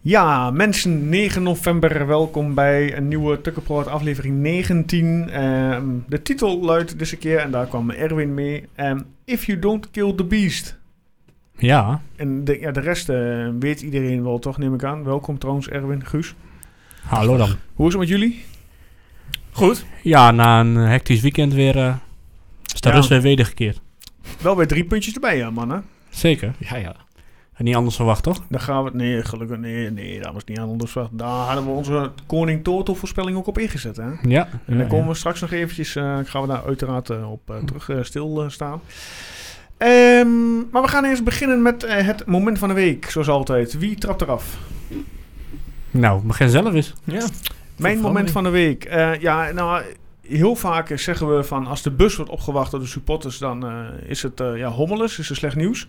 Ja, mensen, 9 november, welkom bij een nieuwe Tukkenproot aflevering 19. Ehm, de titel luidt dus een keer, en daar kwam Erwin mee, ehm, If You Don't Kill the Beast. Ja, En de, ja, de rest eh, weet iedereen wel, toch, neem ik aan. Welkom trouwens, Erwin, Guus. hallo dan. Hoe is het met jullie? Goed. Ja, na een hectisch weekend weer eh is de Ja. rust weer wedergekeerd. Wel weer drie puntjes erbij, ja, mannen. Zeker. Ja, ja. En niet anders verwacht, toch? Daar gaan we... Nee, gelukkig, nee, nee, dat was niet aan ons. verwacht. Daar hadden we onze koning Toto voorspelling ook op ingezet, hè. Ja. En daar komen we straks nog eventjes, eh, gaan we daar uiteraard eh, op eh, terug eh, stilstaan. Ehm, maar we gaan eerst beginnen met eh, het moment van de week, zoals altijd. Wie trapt eraf? Nou, begin zelf eens. Ja. Mijn Van moment Velde. van de week. Eh, ja, nou, heel vaak eh, zeggen we van als de bus wordt opgewacht door de supporters, dan eh, is het eh, ja, hommeles, is het slecht nieuws.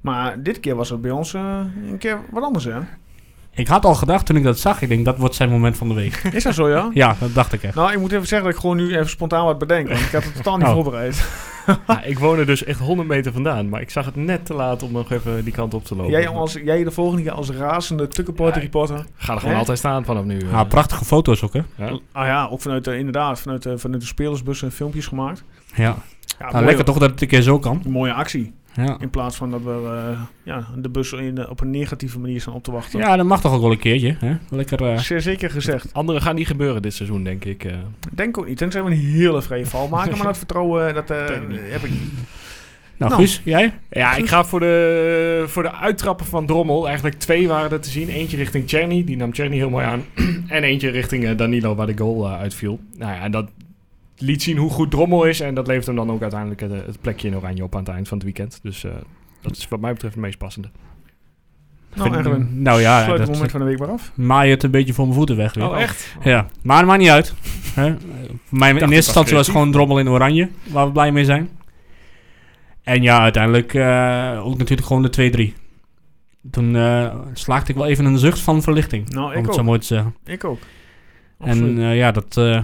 Maar dit keer was het bij ons eh, een keer wat anders, hè? Ik had al gedacht toen ik dat zag, ik denk dat wordt zijn moment van de week. Is dat zo, ja? ja, dat dacht ik echt. Nou, ik moet even zeggen dat ik gewoon nu even spontaan wat bedenk, want ik had het totaal niet Oh. voorbereid. Ja, ik woon er dus echt 100 meter vandaan, maar ik zag het net te laat om nog even die kant op te Oh, lopen. Jij, als, jij de volgende keer als razende tukkenporter Ja, reporter Ga er gewoon Hè? altijd staan vanaf nu. eh. Ja, Ah, prachtige foto's ook, hè? Ja. Ah ja, ook vanuit de, inderdaad, vanuit de, vanuit de spelersbus en filmpjes gemaakt. Ja. Ja, nou, mooi lekker hoor. toch dat het een keer zo kan. Een mooie actie. Ja. In plaats van dat we eh, ja, de bus in de- op een negatieve manier staan op te wachten. ja, dat mag toch ook wel een keertje, hè? Lekker... eh, Zeer zeker gezegd. Anderen gaan niet gebeuren dit seizoen, denk ik. eh. Denk ook niet. Tenzij we een hele vrije val maken. Maar dat vertrouwen dat, eh, Denk ik niet. heb ik niet. nou, Nou. Guus, jij? Ja, ik ga voor de, voor de uittrappen van Drommel. Eigenlijk twee waren er te zien. Eentje richting Czerny, die nam Czerny heel mooi aan. en eentje richting eh, Danilo, waar de goal eh, uitviel. Nou ja, dat liet zien hoe goed Drommel is. En dat levert hem dan ook uiteindelijk het, eh, het plekje in Oranje op aan het eind van het weekend. Dus eh, dat is wat mij betreft het meest passende. Nou, Vind- Erwin. nou ja, Sluit Oh, het dat moment van de week maar af. maai het een beetje voor mijn voeten weg weer. Oh, echt? Ja, maar het maakt niet uit. Hè? Eh, Mijn, in het eerste was instantie was creatief. het gewoon drommel in oranje, waar we blij mee zijn. En ja, uiteindelijk eh, ook natuurlijk gewoon de 2-3. Toen eh, slaakte ik wel even een zucht van verlichting, Nou, om ik het zo ook. mooi te zeggen. Ik ook. En Absoluut. eh, ja, dat... eh,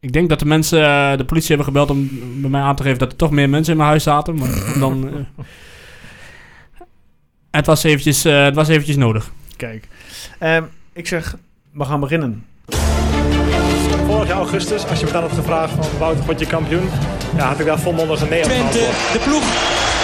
ik denk dat de mensen eh, de politie hebben gebeld om bij mij aan te geven dat er toch meer mensen in mijn huis zaten. Maar dan... eh, het, was eventjes, eh, het was eventjes nodig. Kijk. Ehm, ik zeg, we gaan beginnen. Vorig jaar augustus, als je me dan had gevraagd van Wouter, word je kampioen? Ja, had ik daar volmondig een nee op Twente, geantwoord. de ploeg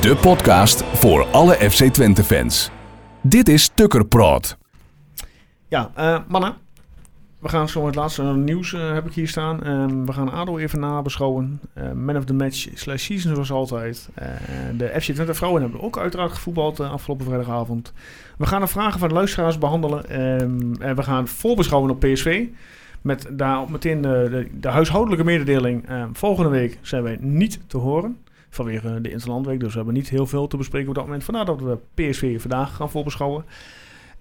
De podcast voor alle FC Twente fans. Dit is Tukker Praat. Ja, eh, mannen. We gaan zo het laatste nieuws eh, heb ik hier staan. Ehm, we gaan ADO even nabeschouwen. Eh, man of the match slash season zoals altijd. Eh, de FC Twente vrouwen hebben ook uiteraard gevoetbald eh, afgelopen vrijdagavond. We gaan de vragen van de luisteraars behandelen. Ehm, en we gaan voorbeschouwen op PSV. Met daarop meteen de, de, de huishoudelijke mededeling. Ehm, volgende week zijn wij niet te horen. Vanwege de Interlandweek. Dus we hebben niet heel veel te bespreken op dat moment. Vandaar dat we PSV vandaag gaan voorbeschouwen.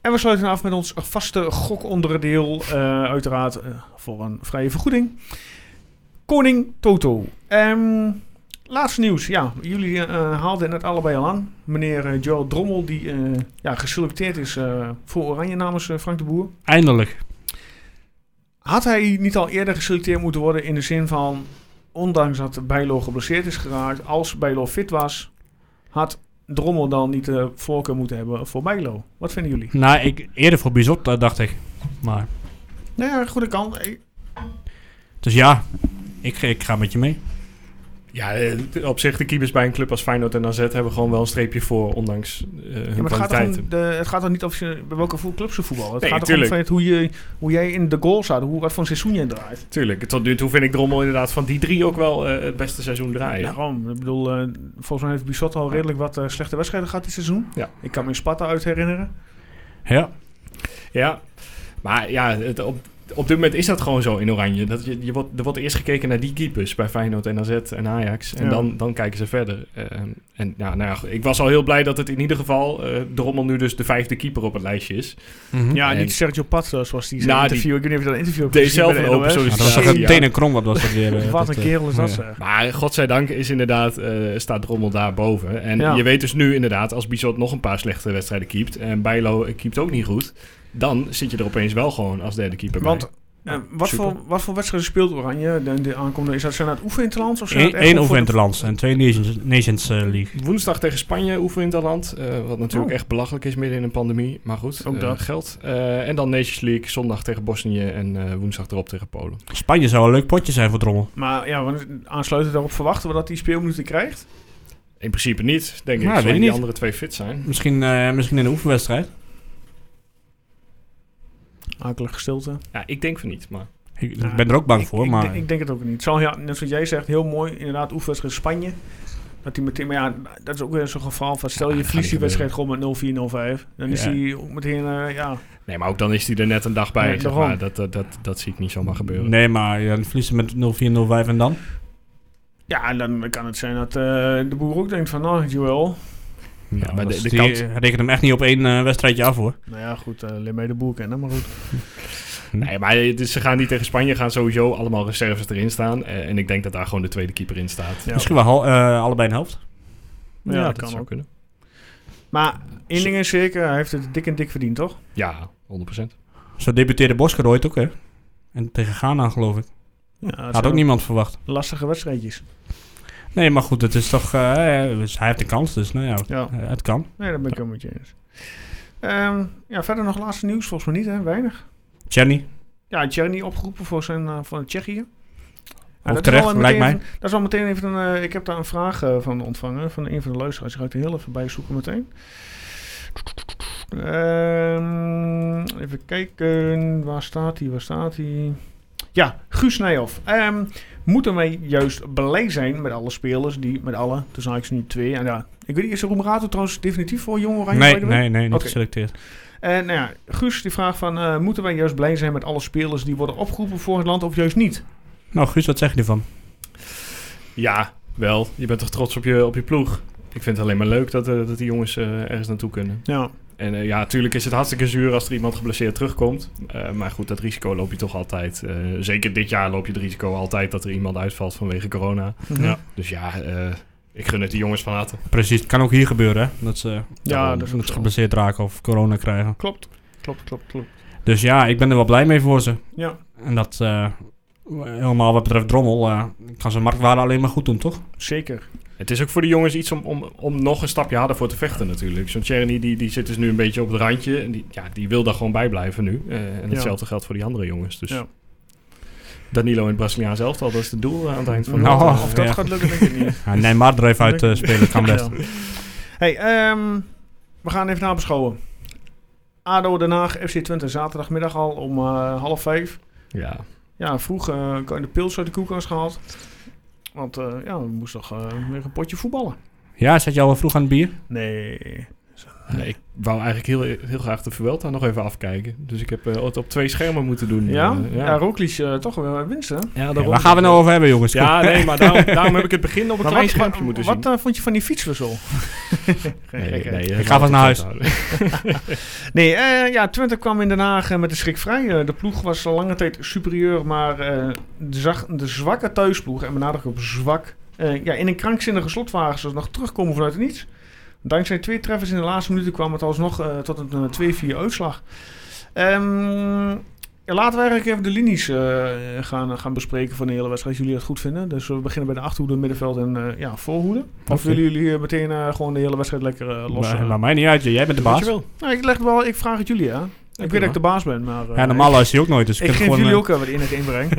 En we sluiten af met ons vaste gokonderdeel, eh, uiteraard eh, voor een vrije vergoeding. Koning Toto. Ehm, laatste nieuws, ja, jullie eh, haalden het net allebei al aan. Meneer eh, Joel Drommel, die eh, ja, geselecteerd is eh, voor Oranje namens eh, Frank de Boer. Eindelijk. Had hij niet al eerder geselecteerd moeten worden in de zin van, ondanks dat Bijlo geblesseerd is geraakt, als Bijlo fit was, had Drommel dan niet de voorkeur moeten hebben voor Bijlo? Wat vinden jullie? Nou, ik, eerder voor Bizot, dat dacht ik. Maar, Nou ja, goede kant. Ik- dus ja, ik, ik ga met je mee. Ja, eh, op zich, de keepers bij een club als Feyenoord en AZ hebben gewoon wel een streepje voor, ondanks eh, hun Ja, maar het gaat, toch kwaliteiten. om de, het gaat toch niet of je bij welke voet- club ze voetballen. Het Nee, gaat toch om tuurlijk. het feit hoe, je, hoe jij in de goal staat, hoe wat voor een seizoen jij draait. Tuurlijk, tot nu toe vind ik Drommel inderdaad van die drie ook wel eh, het beste seizoen draaien. Daarom, ik bedoel, eh, volgens mij heeft Bissot al redelijk wat eh, slechte wedstrijden gehad dit seizoen. Ja. Ik kan me in Sparta uit herinneren. Ja, Ja, maar ja, het, op, op dit moment is dat gewoon zo in Oranje. Dat je, je wordt, er wordt eerst gekeken naar die keepers bij Feyenoord, NAZ en Ajax. En Ja. dan, dan kijken ze verder. Ehm, en ja, nou ja, goed, ik was al heel blij dat het in ieder geval... eh Drommel nu dus de vijfde keeper op het lijstje is. Mhm. Ja, Nee. niet Sergio Pazzo, zoals die Nou, zijn die- interview. Ik weet niet of je dat interview hebt Deed gezien zelf bij de een open NOS. Ja, sollicitatie. Nou, dat was echt een Ja. tenen krom wat was dat weer. eh, Wat dat, een eh, kerel is dat ja. zeg. Maar godzijdank is inderdaad, eh, staat Drommel daar boven. En Ja. je weet dus nu inderdaad, als Bizot nog een paar slechte wedstrijden keept... en Bijlo eh, keept ook niet goed... dan zit je er opeens wel gewoon als derde keeper bij. Want eh, wat, super. voor, wat voor wedstrijden speelt Oranje? De, de aankomende, is dat zijn het oefeninterlands of zijn Eén dat echt e- één op voor de- Oefenlands en twee Nations, Nations eh, League. Woensdag tegen Spanje oefen in dat land. eh, wat natuurlijk echt belachelijk is midden in een pandemie. Maar goed, Ook eh, dat. geldt. Eh, en dan Nations League zondag tegen Bosnië en eh, woensdag erop tegen Polen. Spanje zou een leuk potje zijn voor Drommel. Maar ja, want aansluitend daarop verwachten we dat hij speelminuten krijgt. In principe niet, denk Nou, ik. weet Zolang ik die niet. andere twee fit zijn. Misschien, eh, misschien in een oefenwedstrijd. Akelige stilte. Ja, ik denk van niet, maar... Ik, ik Nou, ben er ook bang voor, ik, maar... denk- Ik, denk het ook niet. Het zal, ja, net zoals jij zegt, heel mooi inderdaad oefenwedstrijd Spanje. Dat die meteen, maar ja, dat is ook weer zo'n geval van stel Ja, je dat verliest gaat die niet wedstrijd gewoon met 0-4, 0-5. Dan is Ja. die ook meteen, eh, ja. Nee, maar ook dan is hij er net een dag bij. Nee, zeg daarom. maar. dat, dat, dat, dat zie ik niet zomaar gebeuren. Nee, maar ja, dan verliezen met 0-4, 0-5 en dan? Ja, en dan kan het zijn dat eh, de boer ook denkt van, nou, Joel. Ja, maar dat de- is- de die- kans- hij rekent hem echt niet op één eh, wedstrijdje af, hoor. Nou ja, goed, eh leer mij de boer kennen, maar goed. Nee, maar het is- ze gaan niet tegen Spanje. gaan sowieso allemaal reserves erin staan. Eh, en ik denk dat daar gewoon de tweede keeper in staat. Ja. Misschien wel hal- eh, allebei een helft. Ja, dat kan zou ook. kunnen. Maar één ding is zeker, hij heeft het dik en dik verdiend, toch? Ja, 100%. Zo debuteerde Bosker ooit ook, hè? En tegen Ghana, geloof ik. Ja, dat Had ook niemand verwacht. Lastige wedstrijdjes. Nee, maar goed, het is toch... eh, eh, dus hij heeft de kans, dus nou ja, Ja. eh, het kan. Nee, daar ben ik helemaal met je eens. Ehm, ja, verder nog laatste nieuws, volgens mij niet, hè? Weinig. Jenny, ja, Tjerni opgeroepen voor zijn eh, van Tsjechië. Ook dat is terecht, wel meteen lijkt mij. even- dat is al meteen even een. eh, ik heb daar een vraag eh, van ontvangen van een van de luisteraars. Ik ga het er heel even bij zoeken meteen. Ehm, even kijken. Waar staat hij? Waar staat hij? Ja, Guus Nijhoff. Ehm, moeten wij juist blij zijn met alle spelers die met alle, dus eigenlijk nu twee. En ja, ik weet niet, is Roemerato trouwens definitief voor Jong Oranje? nee, by the way? nee, nee, niet Oké. geselecteerd. En nou ja, Guus die vraagt van, eh, moeten wij juist blij zijn met alle spelers die worden opgeroepen voor het land of juist niet? Nou, Guus, wat zeg je ervan? Ja, wel. Je bent toch trots op je, op je ploeg? Ik vind het alleen maar leuk dat, eh, dat die jongens eh, ergens naartoe kunnen. Ja, En eh, ja, natuurlijk is het hartstikke zuur als er iemand geblesseerd terugkomt. Eh, maar goed, dat risico loop je toch altijd. Eh, zeker dit jaar loop je het risico altijd dat er iemand uitvalt vanwege corona. ja, Dus ja, eh, ik gun het die jongens van harte. Precies, het kan ook hier gebeuren, hè? Dat ze, ja dat dat is ook ze zo. geblesseerd raken of corona krijgen. Klopt, klopt, klopt, klopt. Dus ja, ik ben er wel blij mee voor ze. Ja. En dat eh, helemaal wat betreft Drommel eh, kan zijn marktwaarde alleen maar goed doen, toch? Zeker. Het is ook voor de jongens iets om, om, om nog een stapje harder voor te vechten natuurlijk. Zo'n Tjerni die, die zit dus nu een beetje op het randje. En die, ja, die wil daar gewoon bij blijven nu. Eh, en Ja. hetzelfde geldt voor die andere jongens. Dus Ja. Danilo in het Braziliaans elftal, dat is het doel eh, aan het eind van Nou, de of dat ja. gaat lukken, denk ik niet. Ja, Neymar er even uit eh, spelen kan best. Dus- Ja. Hey, ehm, we gaan even nabeschouwen. ADO Den Haag, FC Twente, zaterdagmiddag al om eh, half vijf. Ja. Ja, vroeg eh kan je de pils uit de koelkast gehaald. Want eh, ja, we moesten toch eh, weer een potje voetballen. Ja, zat je al wel vroeg aan het bier? Nee, Nee, ik wou eigenlijk heel, heel graag de Vuelta nog even afkijken. Dus ik heb eh, het op twee schermen moeten doen. Ja? Eh, ja, Roglic eh, toch wel winst, hè? ja, Ja, daarom. waar gaan we nou over hebben, jongens? Ja, nee, maar daarom, daarom heb ik het begin op een Maar klein wat, schermpje wat- moeten zien. wat, eh, vond je van die fietswissel? Geen Nee, gekheid. nee, Ik ga vast naar huis. Nee, eh, ja, Twente kwam in Den Haag eh, met de schrik vrij. Eh, de ploeg was al lange tijd superieur, maar eh, zag de zwakke thuisploeg, en benadruk op zwak, eh, ja, in een krankzinnige slotwagen ze nog terugkomen vanuit het niets. Dankzij twee treffers in de laatste minuten kwam het alsnog eh, tot een eh, 2-4 uitslag. Ehm, ja, laten we eigenlijk even de linies eh, gaan, gaan bespreken van de hele wedstrijd, als jullie dat goed vinden. Dus we beginnen bij de achterhoede, middenveld en eh, ja, voorhoede. Of Oké. willen jullie eh, meteen eh, gewoon de hele wedstrijd lekker eh, los? Maar, eh, laat mij niet uit, jij bent de baas. nou, ik, leg wel, ik vraag het jullie, hè? Ik weet dat ik de baas ben, maar... eh, Ja, normaal luister je ook nooit, dus Ik, ik, ik heb geef gewoon... jullie eh, ook eh, wat in het inbreng.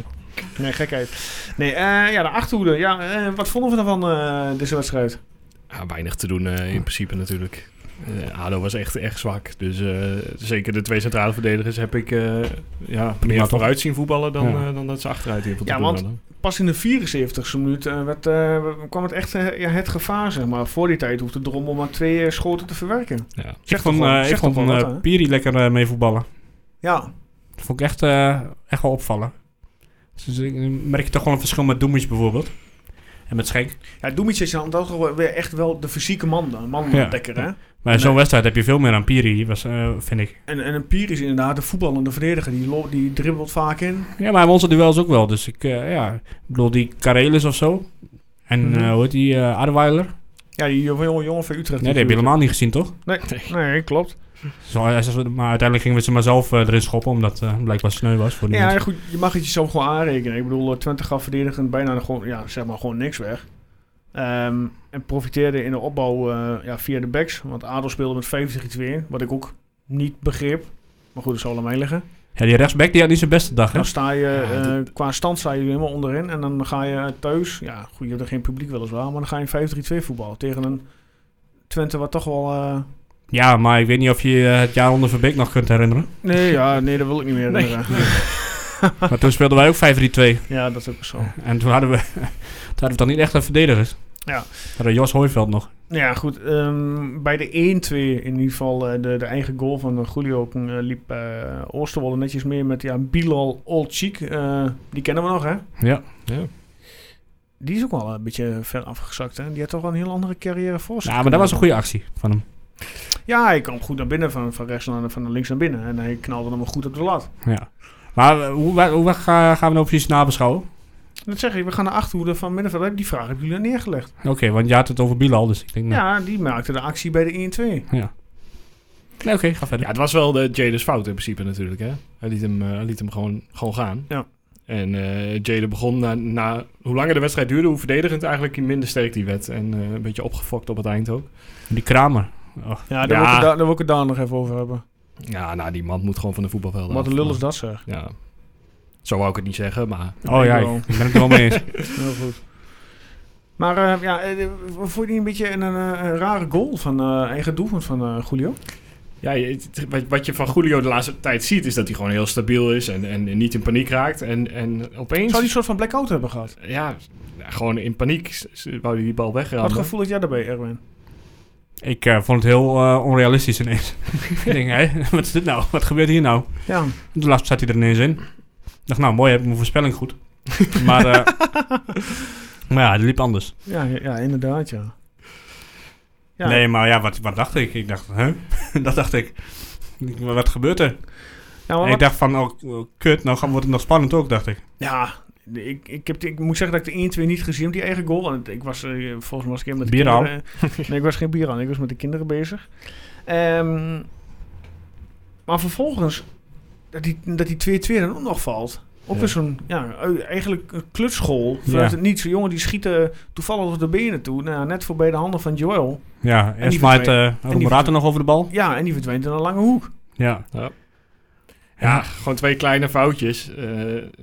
nee, gekheid. Nee, eh, ja, de Achterhoede. Ja, eh, wat vonden we ervan, eh, deze wedstrijd? Ja, weinig te doen eh, in principe natuurlijk. Eh, ADO was echt, echt zwak. Dus eh, zeker de twee centrale verdedigers heb ik eh, ja, meer toch? vooruit zien voetballen dan, Ja. eh, dan dat ze achteruit heel veel te Ja, doen want- hadden. Pas in de 74ste minuut eh, werd, eh, kwam het echt eh, ja, het gevaar, zeg maar. Voor die tijd hoefde Drommel maar twee eh, schoten te verwerken. Ja. ik Zegt vond, toch wel- eh, ik zegt toch vond wel wat, eh, hè? Piri lekker eh, mee voetballen. Ja, Dat vond ik echt, eh, echt wel opvallen. Dus ik merk je toch wel een verschil met Doemies bijvoorbeeld. En met Schenk. Ja, Doemitsch is dan toch wel weer echt wel de fysieke man dan. Man Ja. lekker, hè? Maar in zo'n Nee. wedstrijd heb je veel meer aan Piri, was, eh, vind ik. En, en een Pier is inderdaad de voetballende verdediger. Die, lo- die dribbelt vaak in. Ja, maar onze duels ook wel. Dus ik, eh, ja, ik bedoel die Karelis of zo. En Mhm. eh, hoe heet die, eh Arweiler? Ja, die jongen, jongen van Utrecht. Nee, die heb je helemaal niet gezien, toch? natuurlijk. Nee, nee, klopt. Zo, hij zei zo- maar uiteindelijk gingen we ze maar zelf eh, erin schoppen, omdat eh, het blijkbaar sneu was voor die Ja, mensen. goed, je mag het jezelf gewoon aanrekenen. Ik bedoel, eh, Twente gaf verdedigend bijna gewoon, ja, zeg maar, gewoon niks weg. Ehm, en profiteerde in de opbouw eh, ja, via de backs. Want ADO speelde met 50 iets weer. Wat ik ook niet begreep. Maar goed, dat zal aan mij liggen. Ja, die rechtsback die had niet zijn beste dag, hè? Dan sta je, eh, qua stand sta je helemaal onderin. En dan ga je thuis, ja, goed, je hebt er geen publiek weliswaar. Maar dan ga je in 5-3-2 voetbal tegen een Twente wat toch wel... eh, Ja, maar ik weet niet of je je eh, het jaar onder Verbeek nog kunt herinneren. Nee, ja, nee, dat wil ik niet meer herinneren. Maar toen speelden wij ook 5-3-2. Ja, dat is ook zo. En toen hadden we, toen hadden we dan niet echt een verdedigers. Ja. We hadden Jos Hooiveld nog. Nou Ja, goed. ehm, bij de 1-2 in ieder geval eh, de, de eigen goal van eh, Julio eh, liep eh Oosterwolde netjes meer met ja, Bilal Olcik. Eh, die kennen we nog, hè? Ja. Die is ook wel een beetje ver afgezakt, hè? Die had toch wel een heel andere carrière voor zich. ja, Nou, maar dat was een goede actie van hem. Ja, hij kwam goed naar binnen, van, van rechts naar van links naar binnen. En hij knalde hem wel goed op de lat. Ja. Maar eh, hoe, wa- hoe wa- ga- gaan we nou precies nabeschouwen? Dat zeg ik, we gaan naar Achterhoede van middenveld. Die vraag hebben jullie al neergelegd. Oké, want je had het over Bilal, dus ik denk... nou, Ja, die maakte de E actie bij de 1-2. Nee, oké, ga verder. Ja, het was wel de Jaden's fout in principe natuurlijk. Hè? Hij liet hem, eh, hij liet hem gewoon, gewoon gaan. Ja. En eh Jaden begon na, na... Hoe langer de wedstrijd duurde, hoe verdedigend eigenlijk hoe minder sterk die werd. En eh, een beetje opgefokt op het eind ook. Die Kramer. Oh, Och, Ja, Ja. daar, Wil ik, het daar, daar wil ik het daar nog even over hebben. Ja, nou, die man moet gewoon van de voetbalvelden Wat af. een lul is dat, zeg. Ja. Zo wou ik het niet zeggen, maar... Oh ja, Bilal. ik, ik ben het er wel mee eens. Heel goed. Maar eh, ja, eh, vond je niet een beetje een, een, eh, een rare goal van eh, eigen doelpunt van eh, Julio? Ja, je- het- wat- wat je van Julio de laatste tijd ziet, is dat hij gewoon heel stabiel is en, en niet in paniek raakt. En, en opeens... Zou die een soort van blackout hebben gehad? Ja, gewoon in paniek s- s- wou hij die bal Wat wegrammen. gevoel had jij daarbij, Erwin? Ik eh, vond het heel eh, onrealistisch ineens. ik denk, hé, wat is dit nou? Wat gebeurt hier nou? Ja, En Toen laatst zat hij er ineens in. Ik dacht, nou mooi, heb ik mijn voorspelling goed. maar, eh, maar ja, het liep anders. ja, ja, ja, inderdaad, ja. Ja, Nee, maar ja, wat, wat dacht ik? Ik dacht, hè? dat dacht ik. Ik- maar Wat gebeurt er? ja, maar En ik wat- dacht van, oh, oh, kut, nou gaat- wordt het nog spannend ook, dacht ik. ja ik, ik, heb, de- ik moet zeggen dat ik de 1 2 niet gezien heb, die eigen goal. Want ik was, eh, volgens mij was ik even met de Bier aan. kinderen... eh, nee, ik was geen bier aan. Ik was met de kinderen bezig. Ehm, maar vervolgens, dat die 2-2 dat die 2-2 dan ook nog valt. Ook weer zo'n, ja, ui- eigenlijk een klutschool. Vanuit Ja. het niets. Zo'n jongen die schiet eh, toevallig over de benen toe. Nou, net voorbij de handen van Joel. Ja, die en smijt verdween. uh, die Morata nog over de bal. Ja, en die verdwijnt in een lange hoek. Ja. Ja. Ja, gewoon twee kleine foutjes. Eh,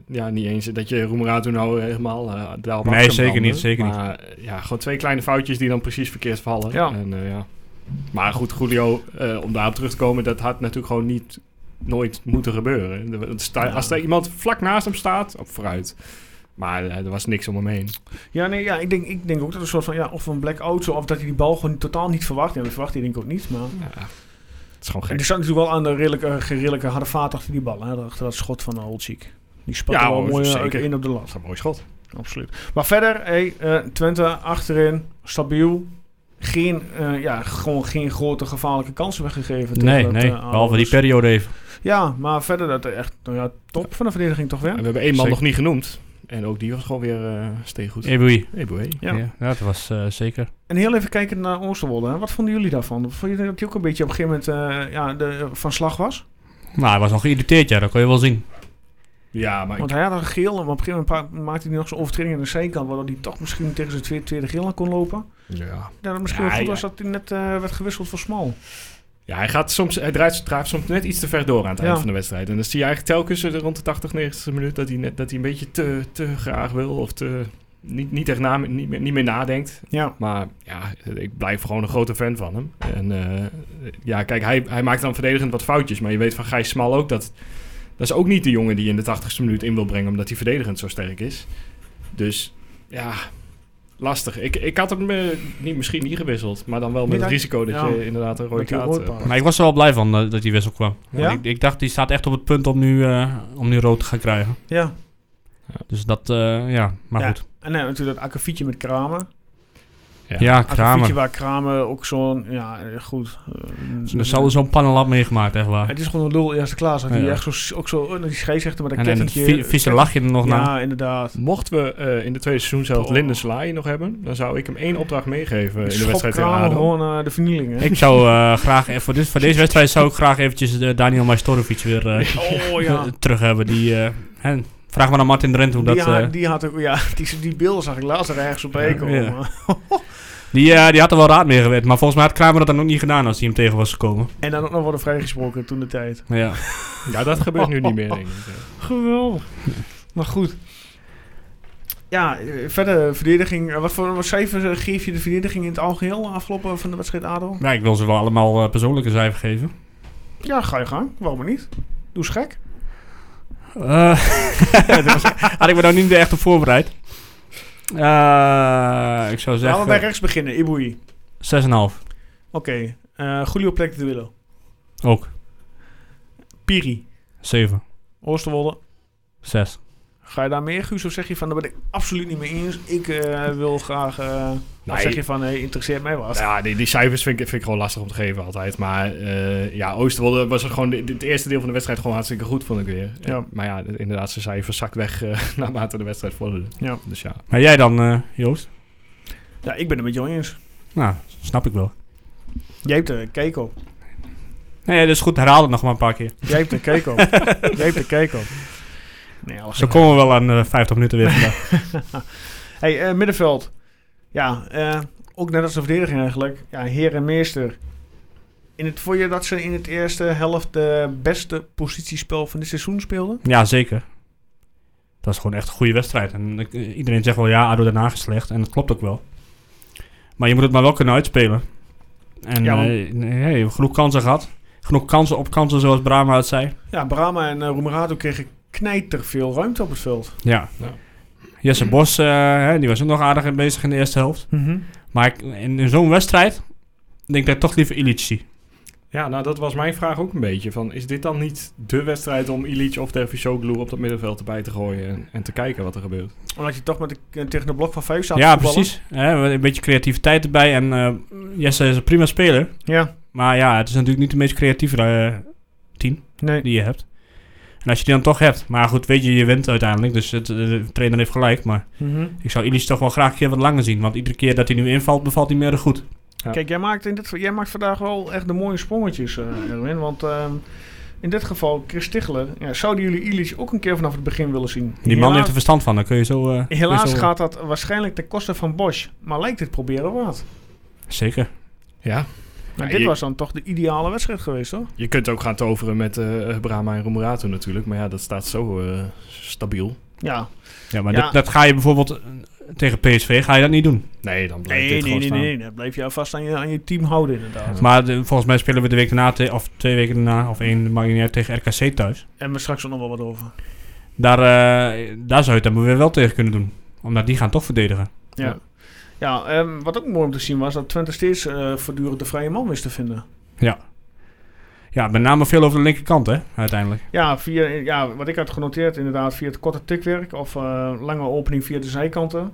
ja, niet eens dat je Roemerato nou helemaal eh daarop af Nee, kan zeker branden. niet, zeker niet. maar, eh, Ja, gewoon twee kleine foutjes die dan precies verkeerd vallen. Ja. En, eh, ja. Maar goed, Julio, eh, om daarop terug te komen, dat had natuurlijk gewoon niet nooit moeten gebeuren. Er- er sta- Ja. Als er iemand vlak naast hem staat, op vooruit. Maar eh, er was niks om hem heen. Ja, nee, ja, ik denk, ik denk ook dat er een soort van, ja, of een blackout. zo, Of dat hij die bal gewoon totaal niet verwacht. Ja, dat verwacht hij denk ik ook niet, maar... Ja, het is gewoon En gek. die zat natuurlijk wel aan de redelijke, geredelijke harde vaat achter die bal. Hè? Achter dat schot van Holtziek. Die spatte Ja, wel hoor, mooi eh, zeker. in op de Dat lat. is een mooi schot. Absoluut. Maar verder, hey, eh, Twente achterin, stabiel. Geen, eh, ja, gewoon geen grote gevaarlijke kansen weggegeven. tegen Nee, dat, nee, eh, ADO. behalve die periode even. Ja, maar verder dat echt nou ja, top van de verdediging toch weer. En we hebben één man Zeker. nog niet genoemd. En ook die was gewoon weer eh steengoed. Ebui. Eboué. Ja. Ja. ja, dat was eh, zeker. En heel even kijken naar Oosterwolde. hè. Wat vonden jullie daarvan? Vonden jullie dat hij ook een beetje op een gegeven moment eh, ja, de, van slag was? Nou, hij was nog geïrriteerd, ja, dat kon je wel zien. Ja, maar Want hij had een geel, maar op een gegeven moment pa- maakte hij nog zijn overtreding aan de zijkant, waardoor hij toch misschien tegen zijn tweede, tweede geel aan kon lopen. Ja. Ja, dat misschien Ja, wel goed ja. was dat hij net eh, werd gewisseld voor Smal. ja, hij gaat soms, hij draait, draait soms net iets te ver door aan het Ja. eind van de wedstrijd. En dan zie je eigenlijk telkens eh, rond de 80, 90 minuut dat hij, net, dat hij een beetje te, te graag wil of te, niet, niet echt na, niet, meer, niet meer nadenkt. Ja. Maar ja, ik blijf gewoon een grote fan van hem. En eh, ja, kijk, hij, hij maakt dan verdedigend wat foutjes. Maar je weet van Gijs Smal ook dat... Dat is ook niet de jongen die je in de 80ste minuut in wil brengen... omdat hij verdedigend zo sterk is. Dus ja, lastig. Ik, ik had hem eh, niet, misschien niet gewisseld, maar dan wel met Niet het uit- risico dat ja. je inderdaad een rode Met die kaart rode eh, paal. Maar ik was er wel blij van eh, dat die wissel kwam. Ja? Want Ik, ik dacht, die staat echt op het punt om nu, eh, om nu rood te gaan krijgen. Ja. Dus dat, eh, ja, maar Ja. goed. En dan natuurlijk dat akkefietje met Kramer. Ja, Ja. Kramer. Akkefietje waar Kramer ook zo'n... Ja, eh, goed. eh, Er Dus zal er zo'n pannenlap meegemaakt, echt waar. Het is gewoon een lul eerste klaas. Dat Ja, hij ja. echt zo, ook zo eh, naar die scheidsrechter met een En, en het kettingje... vi- vieze lachje er nog na. Ja, inderdaad. Mochten we eh, in de tweede seizoenshelft Oh. Lindens Laai nog hebben, dan zou ik hem één opdracht meegeven in de Schop wedstrijd tegen Kramer ADO. gewoon eh, de vernieling. Hè? Ik zou eh, graag, eh, voor, dit, voor deze wedstrijd zou ik graag eventjes eh, Daniel Majstorovic weer eh, oh ja. terug hebben. Die, eh, hè, vraag maar aan Martin Drent hoe die, dat... had, eh, die had ook... Ja, die, die beelden zag ik laatst ergens op Eko. ja. maar- die, eh, die had er wel raad mee gewet, maar volgens mij had Kramer dat dan ook niet gedaan als hij hem tegen was gekomen. En dan ook nog worden vrijgesproken toen de tijd. Maar ja. Ja, dat gebeurt nu niet meer, denk ik. Geweldig. Maar goed. Ja, eh, verder verdediging. Eh, Wat voor wat cijfer eh, geef je de verdediging in het algeheel afgelopen eh, van de wedstrijd ADO? ja, ik wil ze wel allemaal eh, persoonlijke cijfer geven. Ja, ga je gang. Waarom niet? Doe eens gek. Eh, dat was- had ik me nou niet echt op voorbereid. Eh, ik zou Laten we bij zeggen rechts beginnen. Iboui. 6,5. Oké. Eh Julio Plek de Willow. Ook. Piri. 7. Oosterwolde. 6. Ga je daar meer, Guus? Of zeg je van, daar ben ik absoluut niet mee eens. Ik eh, wil graag... eh Of Nee. nou zeg je van, hey, interesseert mij wat. Ja, die, die cijfers vind ik, vind ik gewoon lastig om te geven altijd. Maar eh, ja, Oosterwolde was er gewoon de- het eerste deel van de wedstrijd gewoon hartstikke goed, vond ik weer. Eh, Ja. Maar ja, inderdaad, zijn cijfers zakt weg eh, naarmate de wedstrijd vorderde. Ja. Dus ja. Maar jij dan, eh, Joost? Ja, ik ben het met jou eens. Nou, snap ik wel. Jij hebt de kijk op. Nee, dat is goed. Herhaal het nog maar een paar keer. Jij hebt de kijk op. Jij hebt de kijk op. Nee, alles Zo komen we wel aan eh 50 minuten weer vandaag. Hey, eh, middenveld. Ja, eh, ook net als de verdediging eigenlijk. Ja, heer en meester. In het, vond je dat ze in het eerste helft de beste positiespel van dit seizoen speelden? Ja, zeker. Dat is gewoon echt een goede wedstrijd. En ik- eh, iedereen zegt wel, ja, ADO Den Haag is slecht. En dat klopt ook wel. Maar je moet het maar wel kunnen uitspelen. En eh, Ja, ja, want- je hebt genoeg kansen gehad. Genoeg kansen op kansen, zoals Brahma het zei. Ja, Brahma en eh, Roemerato kregen knijter veel ruimte op het veld. Ja. Ja. Jesse Bos, eh, hè, die was ook nog aardig bezig in de eerste helft. Maar ik- in, in zo'n wedstrijd denk ik dat ik toch liever Illich zie. Ja, nou dat was mijn vraag ook een beetje. Van, is dit dan niet de wedstrijd om Illich of Dervisoglu op dat middenveld erbij te gooien en, en te kijken wat er gebeurt? Omdat je toch met de, eh, tegen de blok van vijf staat Ja, te voetballen. precies. Hè, een beetje creativiteit erbij. En eh, Jesse is een prima speler. Ja, Maar ja, het is natuurlijk niet de meest creatieve eh, team nee. die je hebt. En als je die dan toch hebt. Maar goed, weet je, je wint uiteindelijk. Dus het, eh, de trainer heeft gelijk. Maar Mhm. ik zou Illich toch wel graag een keer wat langer zien. Want iedere keer dat hij nu invalt, bevalt hij meer dan goed. Ja. Kijk, jij maakt, in dit, jij maakt vandaag wel echt de mooie sprongetjes, eh, Erwin. Want ehm, in dit geval, Chris Tichler, ja, zouden jullie Illich ook een keer vanaf het begin willen zien? Die man heeft Helaas- er verstand van. Dan kun je zo... eh, kun je Helaas zo- gaat dat waarschijnlijk ten koste van Bosch, maar lijkt het proberen waard. Zeker. Ja. Maar Ja, dit je- was dan toch de ideale wedstrijd geweest, hoor? Je kunt ook gaan toveren met eh Brahma en Romerato natuurlijk. Maar ja, dat staat zo eh, stabiel. Ja. Ja, maar Ja. Dat, dat ga je bijvoorbeeld eh, tegen PSV ga je dat niet doen. Nee, dan blijft Nee, nee, dit nee, gewoon nee, staan. nee. Dat bleef je vast aan je, aan je team houden, inderdaad. Maar de- volgens mij spelen we de week daarna, te- of twee weken daarna, of één, mag niet uit, tegen RKC thuis. En we straks ook nog wel wat over. Daar, eh, daar zou je het dan weer wel tegen kunnen doen. Omdat die gaan toch verdedigen. Ja. Ja. Ja, ehm, wat ook mooi om te zien was dat Twente steeds eh, voortdurend de vrije man wist te vinden. Ja, met name veel over de linkerkant, hè, uiteindelijk. Ja, via, ja, wat ik had genoteerd inderdaad, via het korte tikwerk of eh, lange opening via de zijkanten.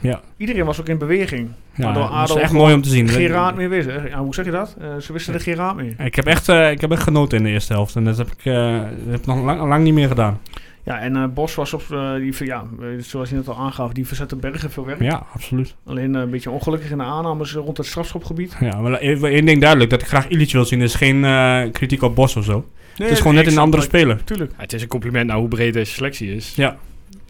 Ja. Iedereen was ook in beweging. Ja, Waardoor dat is ADO echt mooi om te zien. Geen raad meer wist. hè? Ja, hoe zeg je dat? Eh, ze wisten er geen raad meer. Ik heb, echt, eh, ik heb echt genoten in de eerste helft. En dat heb ik, eh, dat heb ik nog lang, lang niet meer gedaan. Ja, en eh, Bos was op, eh, die, ver- ja, eh, zoals je net al aangaf, die verzette bergen veel werk. Ja, absoluut. Alleen eh, een beetje ongelukkig in de aannames eh, rond het strafschopgebied. Ja, maar la- één één ding duidelijk, dat ik graag Illich wil zien, is geen eh, kritiek op Bos of zo. het is gewoon net een andere speler. Tuurlijk. Ja, het is een compliment naar hoe breed deze selectie is. Ja.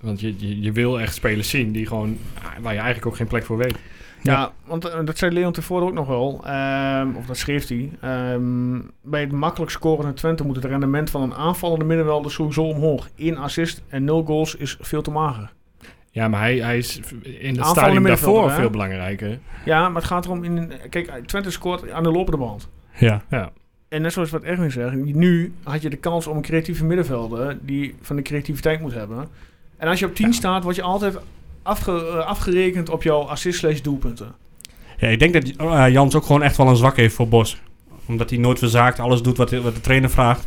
Want je, je, je wil echt spelers zien die gewoon, ah, waar je eigenlijk ook geen plek voor weet. Ja, Ja. want eh, dat zei Leon tevoren ook nog wel. ehm, of dat schreef hij. ehm, bij het makkelijk scorende Twente moet het rendement van een aanvallende middenvelder sowieso omhoog. Eén assist en nul goals is veel te mager. Ja, maar hij, hij is in het Aanvallende stadium daarvoor middenvelder, hè? veel belangrijker. Ja, maar het gaat erom... In, kijk, eh, Twente scoort aan de lopende band. Ja. En net zoals wat Erwin zegt, nu had je de kans om een creatieve middenvelder die van de creativiteit moet hebben. En als je op 10 staat, word je altijd afge- eh, afgerekend op jouw assist slash doelpunten. Ja, ik denk dat eh, Jans ook gewoon echt wel een zwak heeft voor Bos. Omdat hij nooit verzaakt, alles doet wat, wat de trainer vraagt.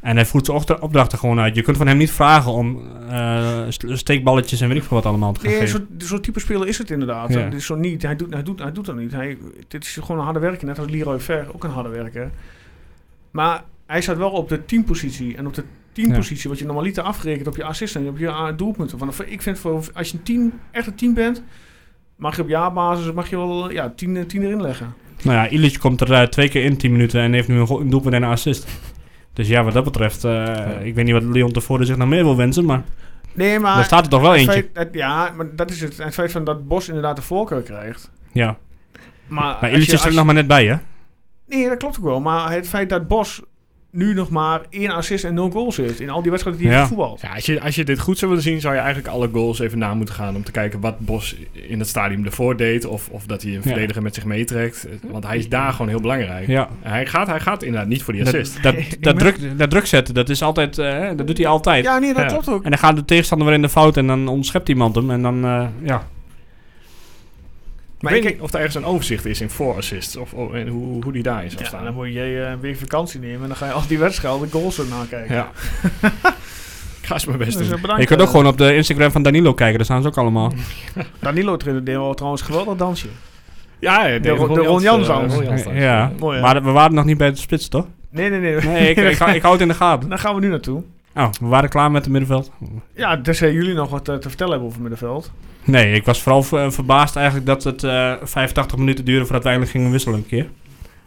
En hij voert zijn ocht- opdrachten gewoon uit. Je kunt van hem niet vragen om eh, st- steekballetjes en weet ik veel wat allemaal te gaan Nee, geven. zo'n zo'n type speler is het inderdaad. Ja. Het is zo niet. Hij doet, hij doet, hij doet dat niet. Hij, dit is gewoon een harde werker. Net als Leroy Ver, ook een harde werker. Maar hij staat wel op de teampositie. En op de teampositie, wat je normaliter afgerekend op je assist en op je ah, doelpunten. Want ik vind, voor, als je een team, echt een team bent, mag je op jaarbasis mag je wel ja, tien, eh, tien erin leggen. Nou ja, Illich komt er eh, twee keer in 10 minuten en heeft nu een, go- een doelpunt en een assist. Dus ja, wat dat betreft, eh, ik weet niet wat Leon tevoren zich nog meer wil wensen, maar Nee, daar maar... staat er toch wel het eentje. feit- het- ja, maar dat is het. Het feit van dat Bos inderdaad de voorkeur krijgt. Ja. Maar, als Maar je- Illich is als er je- nog maar net bij, hè? Nee, dat klopt ook wel. Maar het feit dat Bos nu nog maar één assist en nul goals heeft in al die wedstrijden die hij Ja. voetbalt. Ja, als, je, als je dit goed zou willen zien, zou je eigenlijk alle goals even na moeten gaan. Om te kijken wat Bos in het stadium ervoor deed. Of, of dat hij een verdediger met zich meetrekt. Eh, Want hij is daar gewoon heel belangrijk. Ja. Hij, gaat, hij gaat inderdaad niet voor die Dat, assist. dat, Ik dat, ben- druk, dat druk zetten, dat is altijd, eh, dat doet hij altijd. Ja, nee, dat Ja. klopt ook. En dan gaat de tegenstander weer in de fout en dan ontschept iemand hem en dan, eh, ja. Maar ik ik- weet niet of er ergens een overzicht is in voorassists. Of, of- en hoe, hoe die daarin zou Ja, staan. dan moet jij eh, een week vakantie nemen en dan ga je al die wedstrijden de goals er nakijken. Ja. ik ga eens mijn best Dus, eh, doen. bedankt, Je kunt ook eh, gewoon op de Instagram van Danilo kijken, daar staan ze ook allemaal. Danilo trainde deed wel trouwens een geweldig dansje. Ja, de, Ron- de Ron Jans eh, aan. Ron Jans aan. Ja, Mooi, hè? maar we waren nog niet bij het spits, toch? Nee, nee, nee. Nee, ik, ik, hou- ik hou het in de gaten. Daar gaan we nu naartoe. Oh, we waren klaar met het middenveld. Ja, tenzij jullie nog wat eh, te vertellen hebben over middenveld. Nee, ik was vooral ver- verbaasd eigenlijk dat het eh 85 minuten duurde voordat we eindelijk gingen wisselen een keer.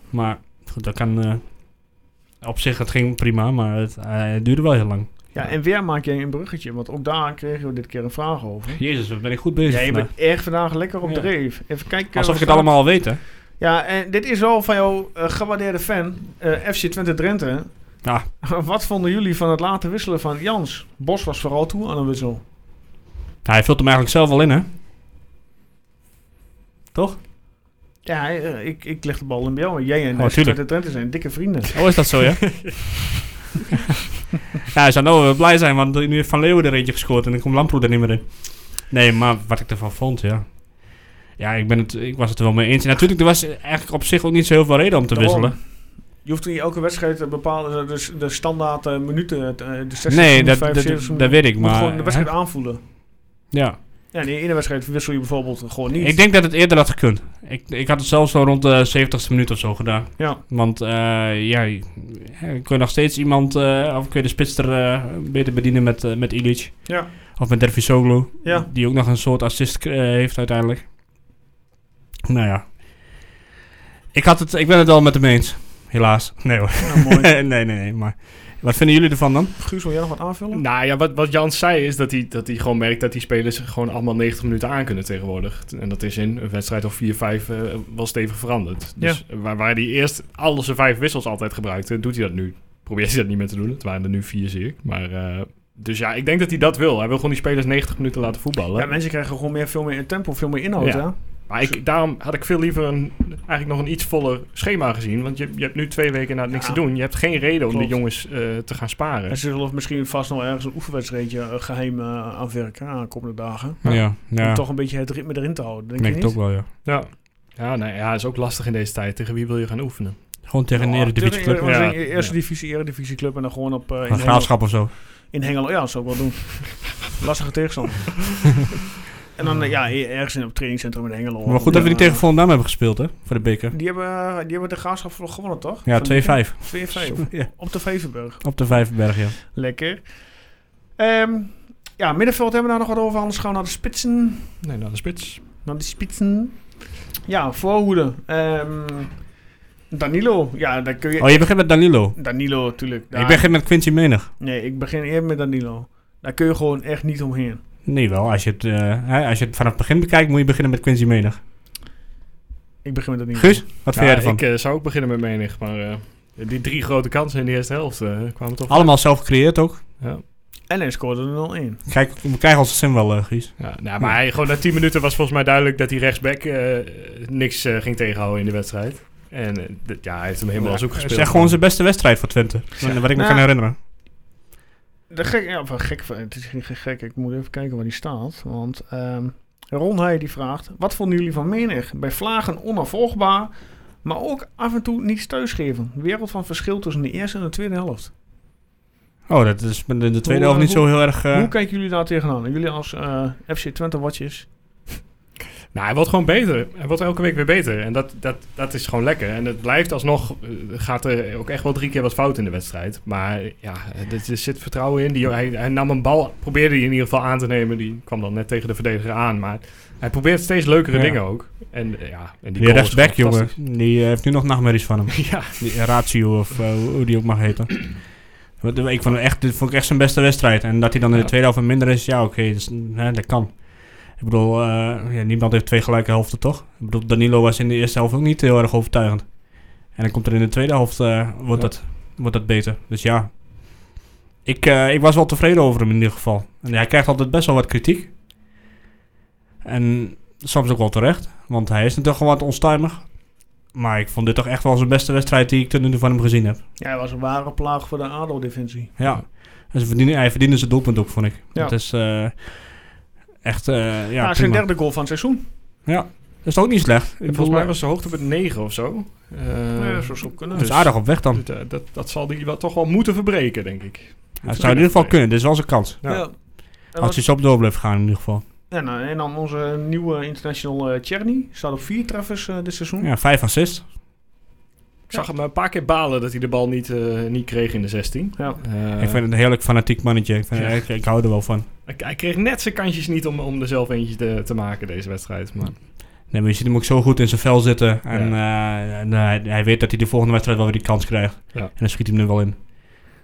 Maar goed, dat kan... eh, op zich, het ging prima, maar het, eh, het duurde wel heel lang. Ja, en weer maak jij een bruggetje, want ook daar kregen we dit keer een vraag over. Jezus, wat ben ik goed bezig Jij vandaag. bent echt vandaag lekker op nou- Ja. dreef. Even kijken. Alsof ik wat het staat- allemaal al weet, hè. Ja, en dit is wel van jouw eh, gewaardeerde fan, eh, FC Twente Drenthe. Ja. Wat vonden jullie van het laten wisselen van Jans? Bos was vooral toe aan een wissel. Nou, hij vult hem eigenlijk zelf al in, hè. Toch? Ja, hij, eh, ik, ik leg de bal in bij jou. Jij en Oh, FC Twente tuurlijk. Drenthe zijn dikke vrienden. Oh, is dat zo, ja? ja, hij zou nou wel blij zijn, want nu heeft Van Leeuwen er eentje gescoord en dan komt Lamproe er niet meer in. Nee, maar wat ik ervan vond, ja. Ja, ik, ben het, ik was het er wel mee eens. En natuurlijk, er was eigenlijk op zich ook niet zo heel veel reden om te Daarom. wisselen. Je hoeft niet elke wedstrijd te bepalen, dus de standaard eh, minuten, eh, de 60 Nee, minuten, dat, 75 dat, minuten. dat weet ik, Je moet gewoon maar... de hè? wedstrijd aanvoelen. Ja. Ja, in de ene wedstrijd wissel je bijvoorbeeld gewoon niet. Ik denk dat het eerder had gekund. Ik, ik had het zelfs zo rond de 70ste minuut of zo gedaan. Ja. Want eh, ja, je- hè, kun je nog steeds iemand, eh, of kun je de spits er eh, beter bedienen met, eh, met Illich. Ja. Of met Dervisoglu, Ja. die ook nog een soort assist eh, heeft uiteindelijk. Nou ja. Ik, had het, ik ben het al met hem eens, helaas. Nee hoor, Nou, mooi. nee, nee, nee. Maar wat vinden jullie ervan dan? Guus, wil jij nog wat aanvullen? Nou ja, wat, wat Jans zei is dat hij, dat hij gewoon merkt dat die spelers gewoon allemaal 90 minuten aan kunnen tegenwoordig. En dat is in een wedstrijd of 4-5 eh, wel stevig veranderd. Dus waar, waar hij eerst alle zijn vijf wissels altijd gebruikte, doet hij dat nu. Probeert hij dat niet meer te doen. Het waren er nu vier, zie ik. Maar, eh, dus ja, ik denk dat hij dat wil. Hij wil gewoon die spelers 90 minuten laten voetballen. Ja, mensen krijgen gewoon meer, veel meer tempo, veel meer inhoud. Ja. hè? Maar ik, daarom had ik veel liever een, eigenlijk nog een iets voller schema gezien. Want je, je hebt nu twee weken na niks Ja. te doen. Je hebt geen reden om Klopt. de jongens eh, te gaan sparen. En ze zullen misschien vast nog ergens een oefenwedstrijdje eh, geheim eh, aanwerken aan de komende dagen. ja, Om toch een beetje het ritme erin te houden, denk merk je het niet? ook wel, ja. Ja. Ja, nou ja, is ook lastig in deze tijd. Tegen wie wil je gaan oefenen? Gewoon tegen een Ja, eredivisieclub. Oh, tegen- Ja. tegen de eh, Eerste divisie, eredivisie club en dan gewoon op eh, in, Een Hengelo, graafschap of zo. in Hengelo. Ja, dat zou ik wel doen. Lastige tegenstander. en dan eh, ja, ergens in op het trainingscentrum in Hengelo. Maar goed dat we Ja, die tegen Volendam hebben gespeeld, hè? Voor de beker. Die hebben, eh, die hebben de graafschap voor gewonnen, toch? Ja, Van die- 2-5. 2-5. Ja, Op de Vevenburg. op de Vijverberg, ja. Lekker. Ehm, ja, middenveld hebben we daar nog wat over. Anders gaan we naar de spitsen. Nee, naar de spits. Dan die spitsen. Ja, voorhoede. Ehm, Danilo. Ja, dan kun je... Oh, je begint met Danilo. Danilo, natuurlijk. Ik begin met Quincy Menig. Nee, ik begin eerder met Danilo. Daar kun je gewoon echt niet omheen. Nee, wel. Als je, het, eh, hè, als je het vanaf het begin bekijkt, moet je beginnen met Quincy Menig. Ik begin met Danilo. Guus, wat vind jij Ja, ervan? ik eh, zou ook beginnen met menig, maar eh, die drie grote kansen in de eerste helft eh, kwamen toch... Allemaal zelf gecreëerd ook. Ja. En hij scoorde er 0-1. Kijk, we krijgen onze sim wel, eh, Guus. Ja, nou, maar hij, gewoon na tien minuten was volgens mij duidelijk dat hij rechtsback eh, niks eh, ging tegenhouden in de wedstrijd. En eh, d- ja, hij heeft hem helemaal zoek Het gespeeld. is echt gewoon zijn beste wedstrijd voor Twente. Wat ik me Nou, kan herinneren. de gek, ja, van gek, het is geen gek, ik moet even kijken waar die staat. Want ehm Ron Heij die vraagt, wat vonden jullie van menig? Bij vlagen onafvolgbaar, maar ook af en toe niets thuisgeven. Wereld van verschil tussen de eerste en de tweede helft. Oh, dat is in de tweede Hoe, helft niet hoe- zo heel erg... eh, Hoe kijken jullie daar tegenaan? Jullie als eh, FC Twente watjes? Nou, hij wordt gewoon beter. Hij wordt elke week weer beter. En dat, dat, dat is gewoon lekker. En het blijft alsnog... eh, Gaat er ook echt wel drie keer wat fout in de wedstrijd. Maar eh, ja, er, er zit vertrouwen in. Die, hij, hij nam een bal, probeerde die in ieder geval aan te nemen. Die kwam dan net tegen de verdediger aan. Maar hij probeert steeds leukere Ja. dingen ook. En eh, ja, en die Die goal is rechtsback, gewoon jongen, die eh, heeft nu nog nachtmerries van hem. fantastisch. Ja, Die Ratio, of eh, hoe hoe die ook mag heten. Wat- Ik vond, hem echt, dit vond ik echt zijn beste wedstrijd. En dat hij dan in de Ja. tweede helft minder is, ja oké, dus, hè, dat kan. Ik bedoel, eh, ja, niemand heeft twee gelijke helften, toch? Ik bedoel, Danilo was in de eerste helft ook niet heel erg overtuigend. En dan komt er in de tweede helft, eh, wordt, Ja. dat, wordt dat beter. Dus ja, ik, eh, ik was wel tevreden over hem in ieder geval. En hij krijgt altijd best wel wat kritiek. En soms ook wel terecht, want hij is natuurlijk gewoon wat onstuimig. Maar ik vond dit toch echt wel zijn beste wedstrijd die ik tot nu toe van hem gezien heb. Ja, hij was een ware plaag voor de ADO-defensie. Ja. En ze Dus verdienen, hij verdiende zijn doelpunt ook, vond ik. Ja. Dat is eh, echt... eh ja, Ja, prima. zijn derde dus- goal van het seizoen. Dat is ook niet slecht. Ik bedoel, volgens mij was de hoogtepunt 9 of zo. Eh, Ja, zo zou kunnen. dat is aardig op weg dan. dus, eh, dat, dat zal die wel, toch wel moeten verbreken, denk ik. Hij zou in ieder geval kunnen. Dit is wel zijn kans. Ja. Ja. En, Als wat- hij zo op door blijft gaan in ieder geval. en, eh, en dan onze nieuwe international Cherny staat op vier treffers eh, dit seizoen. Ja, vijf assists. Ik zag hem een paar keer balen dat hij de bal niet, eh, niet kreeg in de 16. Ja. Eh, ik vind het een heerlijk fanatiek mannetje. Ik, vind, Ja. ik, ik hou er wel van. Hij, hij kreeg net zijn kansjes niet om, om er zelf eentje te, te maken deze wedstrijd. Maar Nee, maar je ziet hem ook zo goed in zijn vel zitten. En, eh, en, eh, hij, hij weet dat hij de volgende wedstrijd wel weer die kans krijgt. Ja. En dan schiet hij hem er wel in.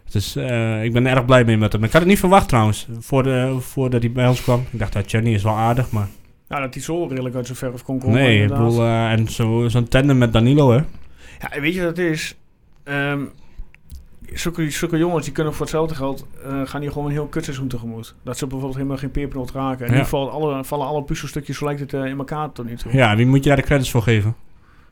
Dus eh, ik ben er erg blij mee met hem. Ik had het niet verwacht trouwens, voor de, voordat hij bij ons kwam. Ik dacht, dat Johnny is wel aardig, maar... Ja, Nou, dat hij zo redelijk uit zijn verf kon komen. nee, ik Oh, inderdaad. bedoel, eh, en zo- zo'n tandem met Danilo, hè. Ja, en weet je wat het is? Ehm zulke, zulke jongens die kunnen voor hetzelfde geld eh, gaan die gewoon een heel kutseizoen tegemoet. Dat ze bijvoorbeeld helemaal geen pepernoot raken. En Ja. nu vallen alle, vallen alle puzzelstukjes, zo lijkt het eh, in elkaar tot nu toe. Ja, wie moet je daar de credits voor geven?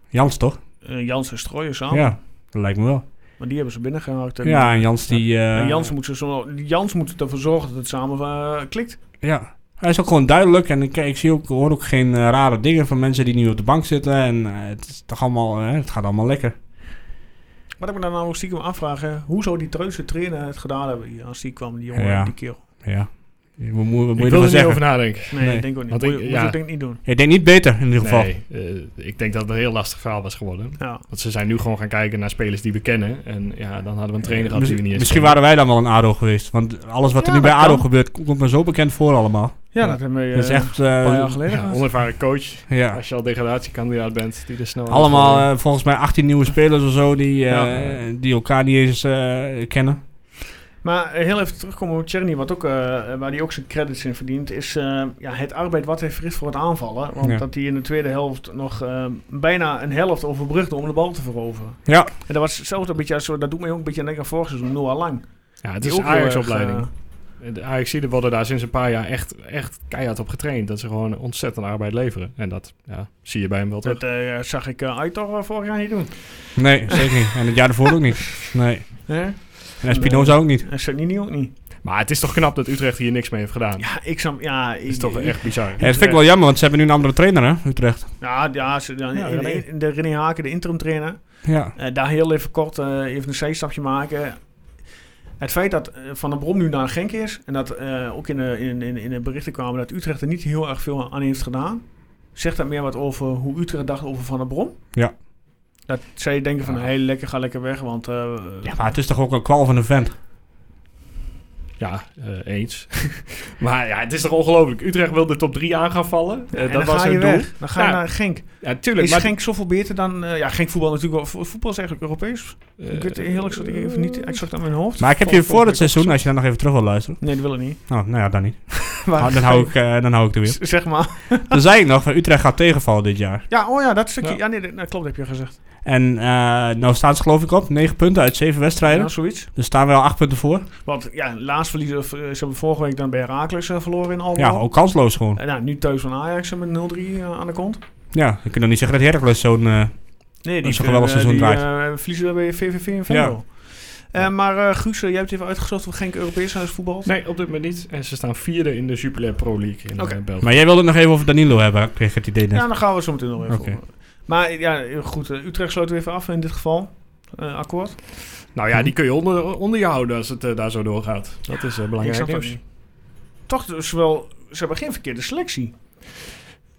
Jans, toch? Eh, Jans en Strooijen samen, Ja, dat lijkt me wel. maar die hebben ze binnengehaakt. En, Ja, en Jans die... eh, en Jans, moet ze zo, Jans moet ervoor zorgen dat het samen eh, klikt. Ja, hij is ook gewoon duidelijk. En ik, ik zie ook, hoor ook geen eh, rare dingen van mensen die nu op de bank zitten. En eh, het, is toch allemaal, eh, het gaat allemaal lekker. Wat ik me dan nou stiekem afvraag, hè, hoe zou die treuze trainer het gedaan hebben hier, als die kwam, die jongen, Ja. die kerel? Ja, je moet, moet, moet ik je ervan wil er niet zeggen. over nadenken. Nee, Nee. ik denk ook niet. Want Moet ik- je- moet ja. je het denk ik niet doen. Ik denk niet beter in ieder geval. Nee, eh, ik denk dat het een heel lastig verhaal was geworden. Ja. Want ze zijn nu gewoon gaan kijken naar spelers die we kennen. En ja, dan hadden we een trainer gehad die we niet eens Misschien kennen. waren wij dan wel een ADO geweest. Want alles wat er Ja, nu bij dat ADO kan. gebeurt, komt me zo bekend voor allemaal. ja, dat hebben we eh, dat is echt... een paar jaar eh geleden Ja, gehad. onervaren coach. ja. Als je al degradatiekandidaat bent, die er snel... Allemaal eh, volgens mij 18 nieuwe spelers of zo die, eh, Ja. die elkaar niet eens eh, kennen. Maar eh, heel even terugkomen op Czerny, wat ook, eh, waar hij ook zijn credits in verdient, is eh, ja, het arbeid wat hij verricht voor het aanvallen. Want Ja. dat hij in de tweede helft nog eh, bijna een helft overbrugde om de bal te veroveren. Ja. En dat was zelfs een beetje, als we- dat doet mij ook een beetje denken aan vorig seizoen, Noah Lang. Ja, het Die is een ook heel erg, Ajax-opleiding. eh, De ajax worden daar sinds een paar jaar echt, echt keihard op getraind. Dat ze gewoon ontzettend arbeid leveren. En dat ja, zie je bij hem wel terug. dat eh, zag ik uh, Aitor eh, vorig jaar niet doen. Nee, zeker niet. En het jaar daarvoor ook niet. Nee. Hè? En Espinoza ook niet. En Sarnini ook niet. Maar het is toch knap dat Utrecht hier niks mee heeft gedaan. Ja, ik zou... Ja, Dat is ik- toch ik- echt bizar. Ja, dat vind ik wel jammer, want ze hebben nu een andere trainer, hè, Utrecht. Ja, ja, ze- ja, Ja, in- René. in- de René Haken, de interim trainer. Ja. Eh, daar heel even kort eh, even een zijstapje maken. Het feit dat eh, Van der Brom nu naar Genk is... en dat eh, ook in de, in, in, in de berichten kwamen dat Utrecht er niet heel erg veel aan heeft gedaan... zegt dat meer wat over hoe Utrecht dacht over Van der Brom? Ja. Dat zij denken van, Ja. hé, lekker, ga lekker weg, want... eh, ja, maar het is toch ook een kwal van een vent. Ja, eh, eens. maar ja, het is toch ongelooflijk. Utrecht wil de top 3 aan gaan vallen. Eh, en dat dan was ga hun je doel. weg. Dan ga je Ja. naar Genk. Ja, tuurlijk. Is Maar, Genk zoveel beter dan... eh, ja, Genk voetbal natuurlijk wel... vo- Voetbal is eigenlijk Europees. eh, ik weet het eerlijk gezegd even niet exact aan mijn hoofd. eh, Maar ik heb Vol- je voor volgende het seizoen, als je dan nog even terug wil luisteren. Nee, dat wil ik niet. Nou, nou ja, dan niet. Ah. Maar- Nou, dan, hou ik, eh, dan hou ik er weer. Zeg maar. Dan zei ik nog, van Utrecht gaat tegenvallen dit jaar. Ja, oh ja, dat stukje. Ja, Ja. nee, dat, dat klopt, heb je gezegd. En eh, nou staan ze geloof ik op, 9 punten uit 7 wedstrijden. Ja, Oh, zoiets. Dus staan we al 8 punten voor. Want ja, laatst verliezen, v- ze hebben vorige week dan bij Heracles eh, verloren in Almelo. Ja, ook kansloos gewoon. En nou, nu thuis van Ajax eh, met 0-3 eh, aan de kont. Ja, dan kun je nog niet zeggen dat Heracles zo'n... eh, Nee, Dat is een geweldig eh, seizoen die, eh, verliezen bij VVV en Venlo. Eh, maar eh, Guus, eh, jij hebt even uitgezocht of geen Europees huisvoetbal. Nee, op dit moment niet. En ze staan vierde in de Jupiler Pro League in Oké. eh, België. Maar jij wilde het nog even over Danilo hebben, kreeg ik het idee net. Ja, dan gaan we het zo meteen nog even Oké. over. Maar eh, ja, eh, goed, eh, Utrecht sloot weer even af in dit geval. Eh, akkoord. Nou ja, die kun je onder, onder je houden als het eh, daar zo doorgaat. Dat is eh, Ik belangrijk snap dat nieuws. niet. Toch dus wel, ze hebben geen verkeerde selectie.